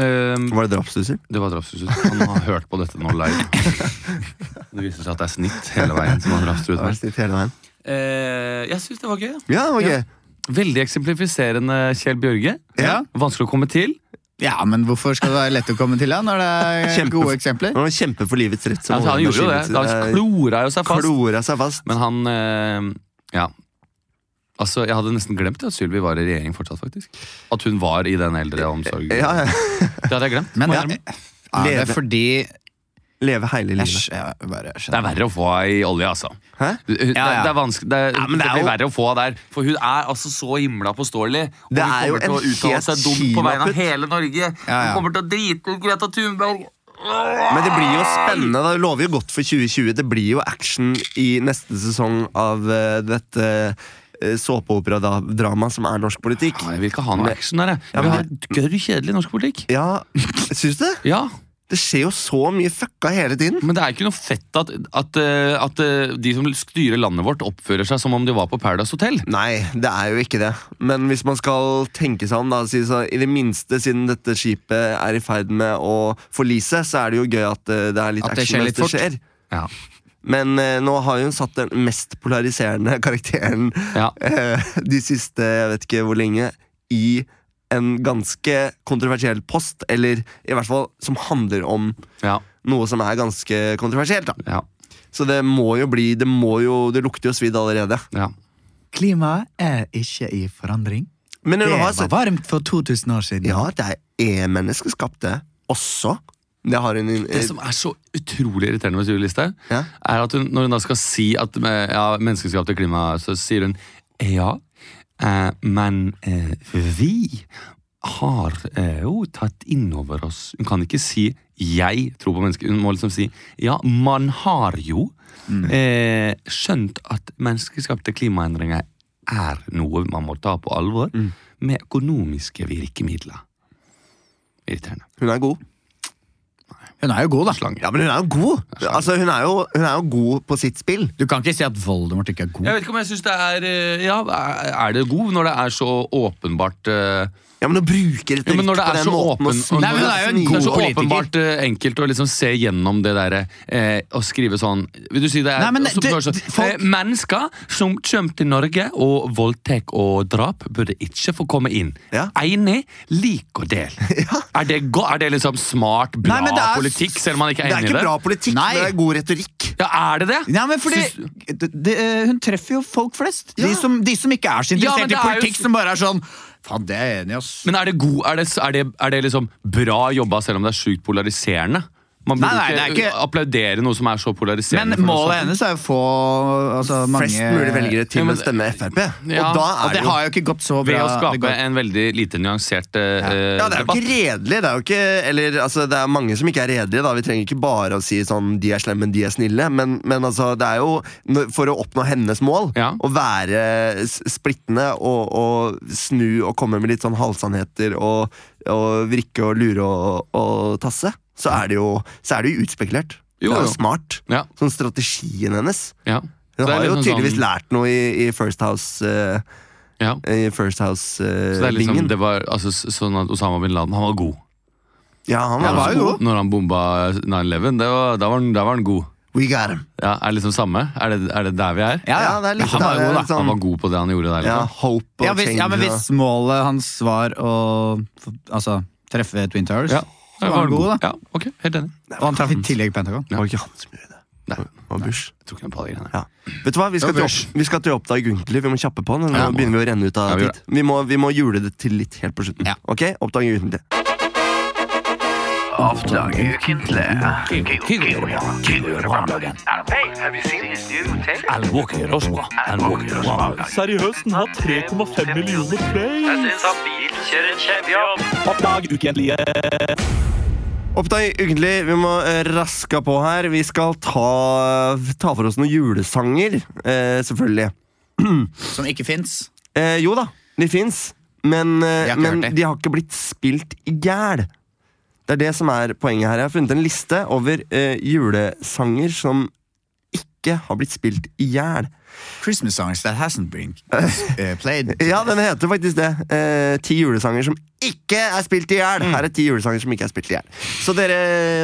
C: ehm,
B: Var det drapsdusser?
C: det var drapstrussel. Han har hørt på dette nå live. Det viser seg at det er snitt hele veien. som han drapstruet meg.
B: Ja,
C: Eh, jeg syns det var gøy. da.
B: ok.
C: Ja. Veldig eksemplifiserende Kjell Bjørge.
B: Ja.
C: Vanskelig å komme til.
A: ja, men hvorfor skal det være lett å komme til da, når det er
B: Kjempe-
A: gode eksempler?
B: Han var kjempe for livets rett. som
C: Altså, han gjorde jo det. Da
B: Eh,
C: klora jo seg fast.
B: Klora seg fast.
C: Men han eh, Ja. Altså, Jeg hadde nesten glemt at Sylvi var i regjering fortsatt. faktisk At hun var i den eldreomsorgen.
B: Ja, ja.
C: Det hadde jeg glemt.
A: Men
C: må
A: ja,
C: jeg innrømme.
A: er det
B: Leve.
A: fordi
B: Leve hele livet.
A: Æsj, jeg bare
C: Det er
A: skjønner.
C: verre å få ei i olje, altså.
B: Hæ?
C: Det, det,
A: Ja, ja.
C: det er vanskelig det,
A: Ja, men det
C: det,
A: er
C: blir
A: jo-
C: verre å få henne der. For hun er altså så himla påståelig. Og
B: Det
C: hun
B: er jo
C: kommer til å
B: en
C: uttale
B: helt
C: seg dumt på vegne av
B: kinaputt.
C: hele Norge.
A: Ja, ja.
C: Hun kommer til å drite ut Greta Thunberg.
B: Men det blir jo spennende. da. Det lover jo godt for 2020. Det blir jo action i neste sesong av eh, dette uh, såpeoperadramaet som er norsk politikk.
C: Nei, Jeg vil ikke ha noe action der, jeg. Jeg vil ha gørr kjedelig norsk politikk.
B: Ja, syns du det?
C: Ja,
B: Det skjer jo så mye fucka hele tiden.
C: Men det er ikke noe fett at, at, eh, at eh, de som styrer landet vårt, oppfører seg som om de var på Paradise Hotel.
B: Nei, det er jo ikke det. Men hvis man skal tenke seg om, da, si så, i det minste siden dette skipet er i ferd med å forlise, så er det jo gøy at eh, det er litt
C: At det
B: action
C: skjer
B: mens
C: litt
B: det
C: fort.
B: skjer.
C: Ja.
B: Men eh, nå har hun satt den mest polariserende karakteren
C: Ja.
B: eh, de siste jeg vet ikke hvor lenge i en ganske kontroversiell post, eller i hvert fall som handler om
C: Ja.
B: noe som er ganske kontroversielt. Da.
C: Ja.
B: Så det må jo bli Det, må jo, det lukter jo svidd allerede.
C: ja.
G: Klimaet er ikke i forandring.
B: Men
G: Det
B: hun har
G: var
C: altså-
B: sett
G: varmt for 2000 år siden.
B: Ja, det er menneskeskapte også. Det har hun
C: Det som er så utrolig irriterende med Sylvi Listhaug,
B: eh, Ja.
C: er at hun, når hun da skal si at eh, ja, menneskeskapte klima, så sier hun ja, eh, men eh, vi har eh, jo tatt inn over oss Hun kan ikke si 'jeg tror på mennesker'. Hun må liksom si 'ja, man har jo eh, skjønt at menneskeskapte klimaendringer er noe man må ta på alvor', med økonomiske virkemidler. Irriterende.
B: Hun er god.
G: Hun er jo god, da.
B: Ja, men hun er jo god! Altså, hun er jo, hun er jo god på sitt spill.
G: Du kan ikke si at Voldemort ikke er god.
C: Jeg vet ikke om jeg syns det er eh, Ja, er er det god når det er så åpenbart eh,
B: Ja, men å bruke retorikk
C: Jo, men når det
B: på
C: er
B: den
C: så
B: måten
C: åpen
B: å snu-
C: Nei, men det er jo en
B: snu-
C: god så
G: politiker.
C: åpenbart eh, enkelt å liksom se gjennom det derre eh, og skrive sånn Vil du si det er
G: Nei, men
C: som
G: det-
C: går sånn,
G: det- folk-
C: eh, Mennesker som kommer til Norge og voldtek og drap, burde ikke få komme inn.
B: Ja.
C: Enig, lik og del. Er, det go er det liksom smart, bra
G: Nei, men det er-
C: politikk, selv om man ikke
B: Det
C: er
B: er
C: enig i
B: ikke
C: det?
B: bra politikk,
G: Nei.
B: men det er god retorikk.
C: Ja, er det det?
G: Nei, men fordi
C: Syns-
G: det, det, eh, Hun treffer jo folk flest. De, som, de som ikke er så
C: Ja,
G: interessert
C: men det
G: i
C: er jo
G: politikk,
C: så-
G: som bare er sånn Faen, det er jeg enig i, ass.
C: Men er det, god, er, det, er, det, er det liksom bra jobba, selv om det er sjukt polariserende? Man burde
G: Nei, nei,
C: ikke,
G: det er ikke-
C: applaudere noe som er så polariserende.
G: Men
C: for noe
G: målet
C: sånt.
G: hennes er jo å få altså, mange
B: Flest mulig velgere
C: Ja,
B: til
C: men
B: å stemme Frp.
C: Ja,
B: og da
G: Og
B: er
G: det
B: det jo
G: har jo ikke gått så bra.
C: Ved å
G: det
C: skape
G: går-
C: en veldig lite nyansert eh,
B: ja, det er jo
C: debatt.
B: ikke redelig. Det er jo ikke, eller, altså, det er mange som ikke er redelige. Da. Vi trenger ikke bare å si sånn, de er slemme, de er snille. Men, men altså, det er jo når- for å oppnå hennes mål,
C: Ja.
B: å være s- splittende og, og snu og komme med litt sånn halvsannheter og, og vrikke og lure og, og tasse, så er det jo, så er det jo utspekulert.
C: Jo,
B: det er
C: jo.
B: jo smart.
C: Ja,
B: Sånn strategien hennes.
C: ja. Så
B: Hun
C: det er
B: har jo
C: liksom
B: tydeligvis
C: sånn-
B: lært noe i, i First eh, House-bingen.
C: Ja.
B: eh,
C: Så det er liksom, det var altså, s- sånn at Osama bin Laden han var god.
B: ja, han var,
C: Han var
B: jo
C: god.
B: god.
C: Når han bomba 9-11, det var- da var, han- da var han god.
B: We got him.
C: Ja, er det liksom samme? Er det, er det der vi er?
G: ja, ja.
B: Ja, det er litt-
G: han var
B: det
G: jo god,
B: er litt
G: da.
B: sånn-
C: Han var god på det han gjorde der.
B: Ja,
C: Liksom.
B: hope og
G: Ja, hvis,
B: change.
G: ja, men
B: og-
G: hvis målet hans var å f- altså, treffe Twin Towers,
C: Ja.
G: så var han god, da.
C: Ja, ok, helt enig.
G: Og han traff i tillegg Pentagon.
B: Det var ikke han som gjorde det.
C: Nei,
B: Det var Bush.
C: jeg tror ikke noe på de greiene.
B: Ja. Vet du hva, Vi skal, til, opp, vi skal til Oppdag Guntli. Vi må kjappe på. Nå
C: Ja, må.
B: begynner vi å renne ut
C: Ja,
B: av
C: vi gjør
B: tid. Vi må, vi må jule det til litt helt på slutten.
G: Ja.
B: Ok, Oppdag Guntli.
F: Seriøst, den har 3,5 millioner play.
B: Oppdag Guntli, vi må eh, raske på her. Vi skal ta, ta for oss noen julesanger, eh, selvfølgelig.
G: Som ikke fins.
B: Eh, jo da, de fins, men, eh,
G: Jeg har ikke hørt
B: men
G: det.
B: de har ikke blitt spilt i gæl. Det er det som er poenget her. Jeg har funnet en liste over eh, julesanger som ikke har blitt spilt i hjel.
G: Christmas songs that hasn't been eh, played.
B: Ja, den heter faktisk det. Eh, ti julesanger som ikke er spilt i hjel.
G: Mm.
B: Her er ti julesanger som ikke er spilt i hjel. Så dere,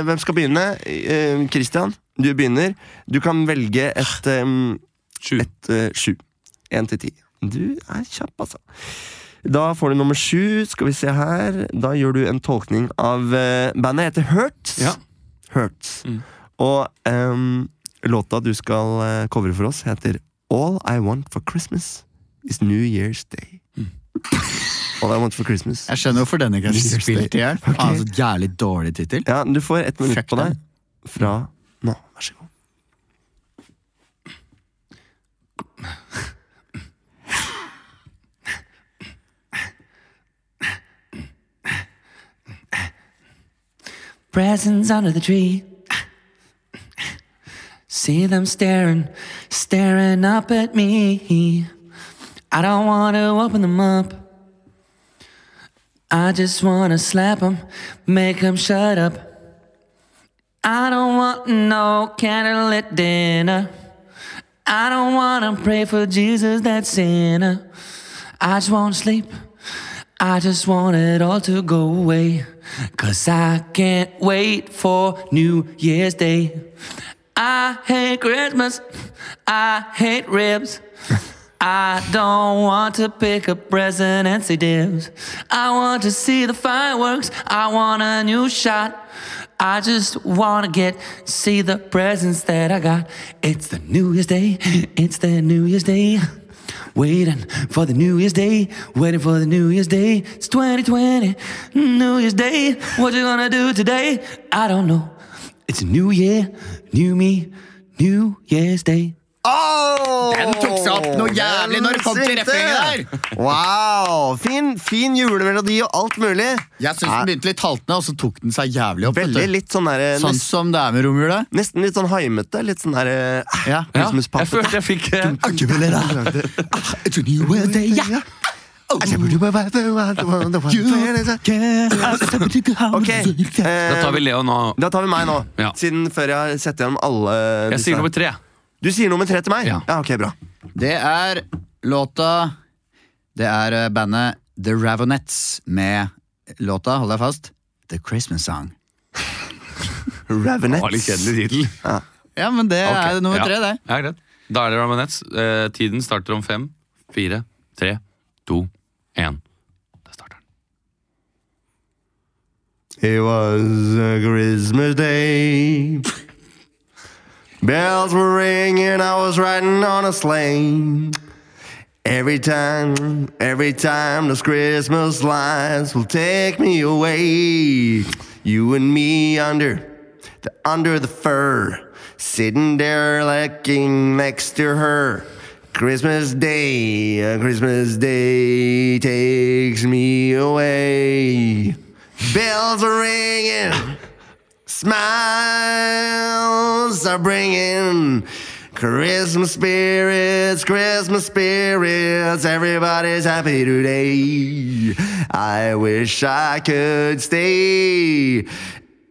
B: hvem skal begynne? Eh, Christian, du begynner. Du kan velge et em,
C: Sju.
B: Et eh, sju. Én til ti. Du er kjapp, altså. Da får du nummer sju. Skal vi se her. Da gjør du en tolkning av eh, Bandet heter Hurts.
C: Ja.
B: Hurts.
H: Mm.
B: Og em, låta du skal eh, covre for oss, heter All I Want for Christmas Is New Year's Day.
H: Mm.
B: All I Want for Christmas.
G: Jeg skjønner hvorfor denne ikke er
B: Jesus
G: spilt i hjel. Faen, så Jævlig dårlig tittel.
B: Ja, du får ett minutt
G: Fuck
B: på deg
G: den.
B: fra nå. Vær så god.
C: All
H: presents under the tree. See them staring, staring up at me. I don't want to open them up. I just want to slap them, make them shut up. I don't want no candlelit dinner. I don't want to pray for Jesus, that sinner. I just won't sleep. I just want it all to go away. Cause I can't wait for New Year's Day. I hate Christmas. I hate ribs. I don't want to pick a present and see dibs. I want to see the fireworks. I want a new shot. I just want to get, see the presents that I got. It's the New Year's Day. It's the New Year's Day. Waiting for the New Year's Day, waiting for the New Year's Day. It's 2020, New Year's Day. What you gonna do today? I don't know. It's a new year, new me, New Year's Day.
B: Den
H: tok seg opp noe jævlig når det kom til refrenget
B: der! Wow! Fin, fin julemelodi og alt mulig.
I: Jeg syns den begynte litt haltende, og så tok den seg jævlig opp. vet du.
B: Veldig litt sånn der,
I: Sånn som det er med romjula.
B: Nesten litt sånn haimete. Litt sånn der eh,
I: Ja.
B: Christmas
C: Jeg
B: puppet.
C: følte jeg fikk eh,
I: It's a new day, yeah.
B: Ok,
C: Da tar
B: eh,
C: vi Leo nå.
B: da tar vi meg nå.
C: Ja.
B: Siden før jeg har sett gjennom alle
C: Jeg sier nummer tre.
B: Du sier nummer tre til meg?
C: Ja.
B: ja ok, bra.
I: Det er låta Det er eh, bandet The Ravonettes med låta, hold deg fast, The Christmas Song.
C: Det var litt
B: Ravenets.
C: kjedelig tittel.
I: Ja, men det er nummer tre, det.
C: Ja, greit. Da er det Ramanettes. Eh, tiden starter om fem, fire, tre, to, én. Der starter
H: Mm.
C: den.
B: It was a Christmas day. Bells were ringing, I was riding on a sleigh. Every time, every time those Christmas lights will take me away. You and me under, the, under the fur, sitting there looking next to her. Christmas Day, uh, Christmas Day takes me away. Bells are ringing, smiles are bringing. Christmas spirits, Christmas spirits, everybody's happy today. I wish I could stay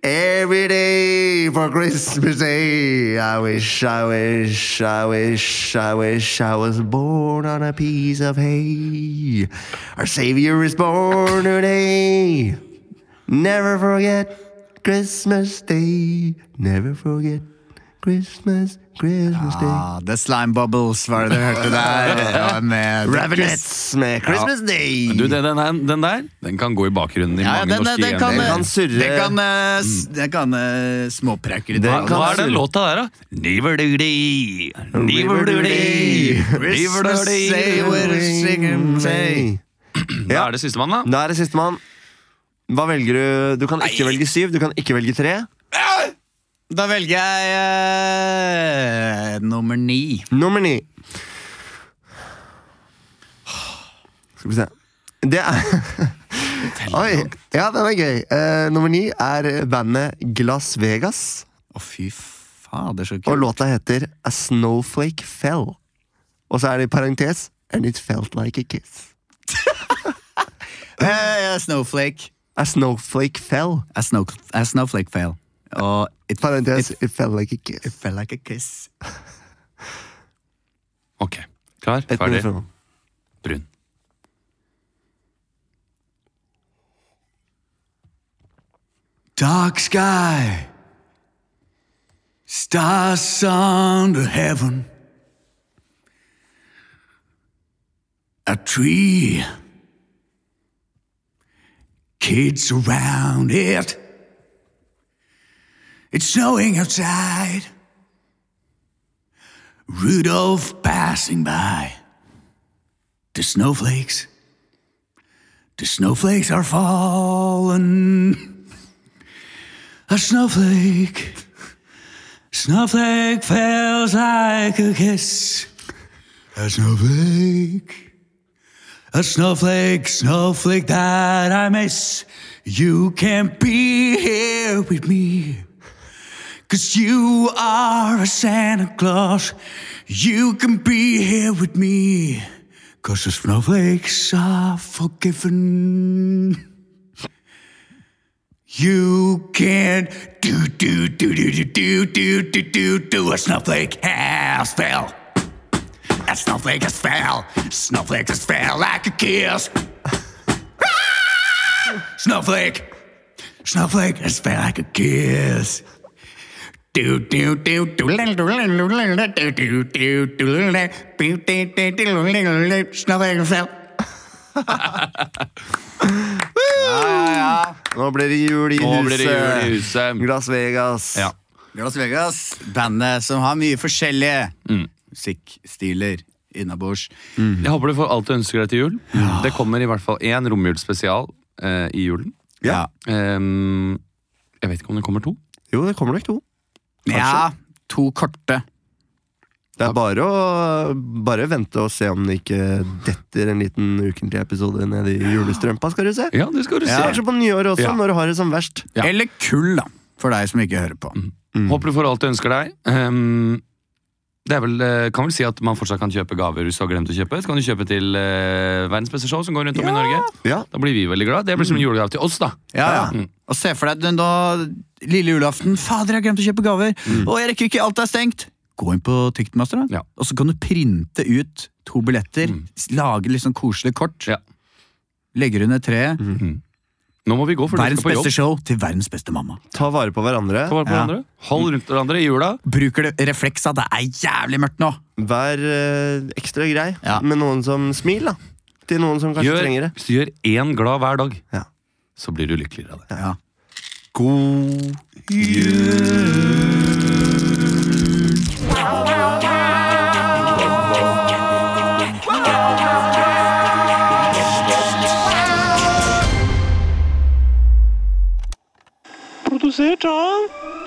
B: every day for Christmas Day. I wish, I wish, I wish, I wish I was born on a piece of hay. Our Savior is born today. Never forget Christmas Day. Never forget Christmas, Christmas Day.
I: Ah, the Slime Bubbles var det du hørte der. Ja, med The
B: Ravenets med Christmas Day.
C: Du, den, den, her- den der den kan gå i bakgrunnen i
I: Ja,
C: mange
I: den, eh,
C: norske
I: den, kan,
C: gjendeler.
B: kan surre. Mm.
I: Den kan, eh, s- den kan eh, småprekke litt.
C: Hva,
B: Den
C: hva
B: kan
C: er den
B: surre.
C: låta der, da? Niverdi, niverdi,
I: Christmas Day,
C: niverdi.
I: we're
B: Mm.
I: singing, say.
C: Da er det sistemann, da.
B: Da er det sistemann. Hva velger du? Du kan ikke velge syv, du kan ikke velge tre.
I: Da velger jeg eh, nummer ni.
B: Nummer ni. Skal vi se. Det er Oi! Ja, den er gøy. Eh, nummer ni er bandet Glass Vegas.
I: Å, fy fader, så
B: Og
I: kult.
B: låta heter A Snowflake Fell. Og så er det i parentes And it felt like a kiss.
I: Eh, snowflake.
B: A Snowflake Fell.
I: A, snow, a snowflake fail. Og it,
B: Parentes
I: it
B: It felt like a kiss.
I: felt like a kiss.
C: Ok, Klar,
B: Et
C: ferdig,
B: nummer sånn. fra-
C: brun.
A: Dark sky, stars under heaven, a tree, kids around it. It's snowing outside, Rudolph passing by. The snowflakes, the snowflakes are falling. A snowflake. Snowflake feels like a kiss. A snowflake. A snowflake, snowflake that I miss. You can't be here with me. Cause you are a Santa Claus. You can be here with me. Cause the snowflakes are forgiven. You can't do do do do do do do do do do a snowflake has fell. A snowflake has fell. Snowflake has fell like a kiss. Ah! snowflake. Snowflake has fell like a kiss. Do do do do do do do do do do do Snowflake has fell.
B: Nå blir det jul i
C: Nå blir det jul i
B: huset. Glass Vegas.
J: Las Vegas, bandet som har mye forskjellige musikkstiler innabords.
C: Jeg håper du får alt du ønsker deg til jul. Det kommer i hvert fall én romjulsspesial eh, i julen.
B: Ja.
C: Ehm, jeg vet ikke om det kommer to.
B: Jo, det kommer nok to.
J: Ja, to korte.
B: Det er bare å bare vente og se om det ikke detter en liten ukentlig episode ned i julestrømpa, skal du se.
C: Ja, det skal du se.
B: Kanskje på nyåret også,
C: Ja.
B: når du har det som verst.
J: Eller kull, da, for deg som ikke hører på.
C: Håper du får alt du ønsker deg. Ehm, det er vel, eh, kan vel si at man fortsatt kan kjøpe gaver hvis du har glemt å kjøpe. Så kan du kjøpe til eh, verdens beste show som går rundt om i Norge. Da blir vi veldig glad. Det blir som en julegave til oss, da. Mm.
J: Ja, ja. Og se for deg du nå, lille julaften. Fader, jeg har glemt å kjøpe gaver! Og jeg rekker ikke, alt er stengt! Gå inn på Ticketmaster, da. Og så kan du printe ut to billetter. s- Lage litt sånn koselig kort. Legger under treet.
C: Nå må vi gå, for du skal
J: Verdens
C: på jobb.
J: beste show til verdens beste mamma.
B: Ta vare på hverandre.
C: Ta vare på hverandre. Hold rundt hverandre i jula.
J: Bruker det refleksa. Det er jævlig mørkt nå.
B: Vær eh, ekstra grei med noen som smiler, da. Til noen som kanskje
C: Gjør-
B: trenger det.
C: Hvis du gjør én glad hver dag,
B: Ja.
C: så blir du lykkeligere av det.
B: God
F: Produsert av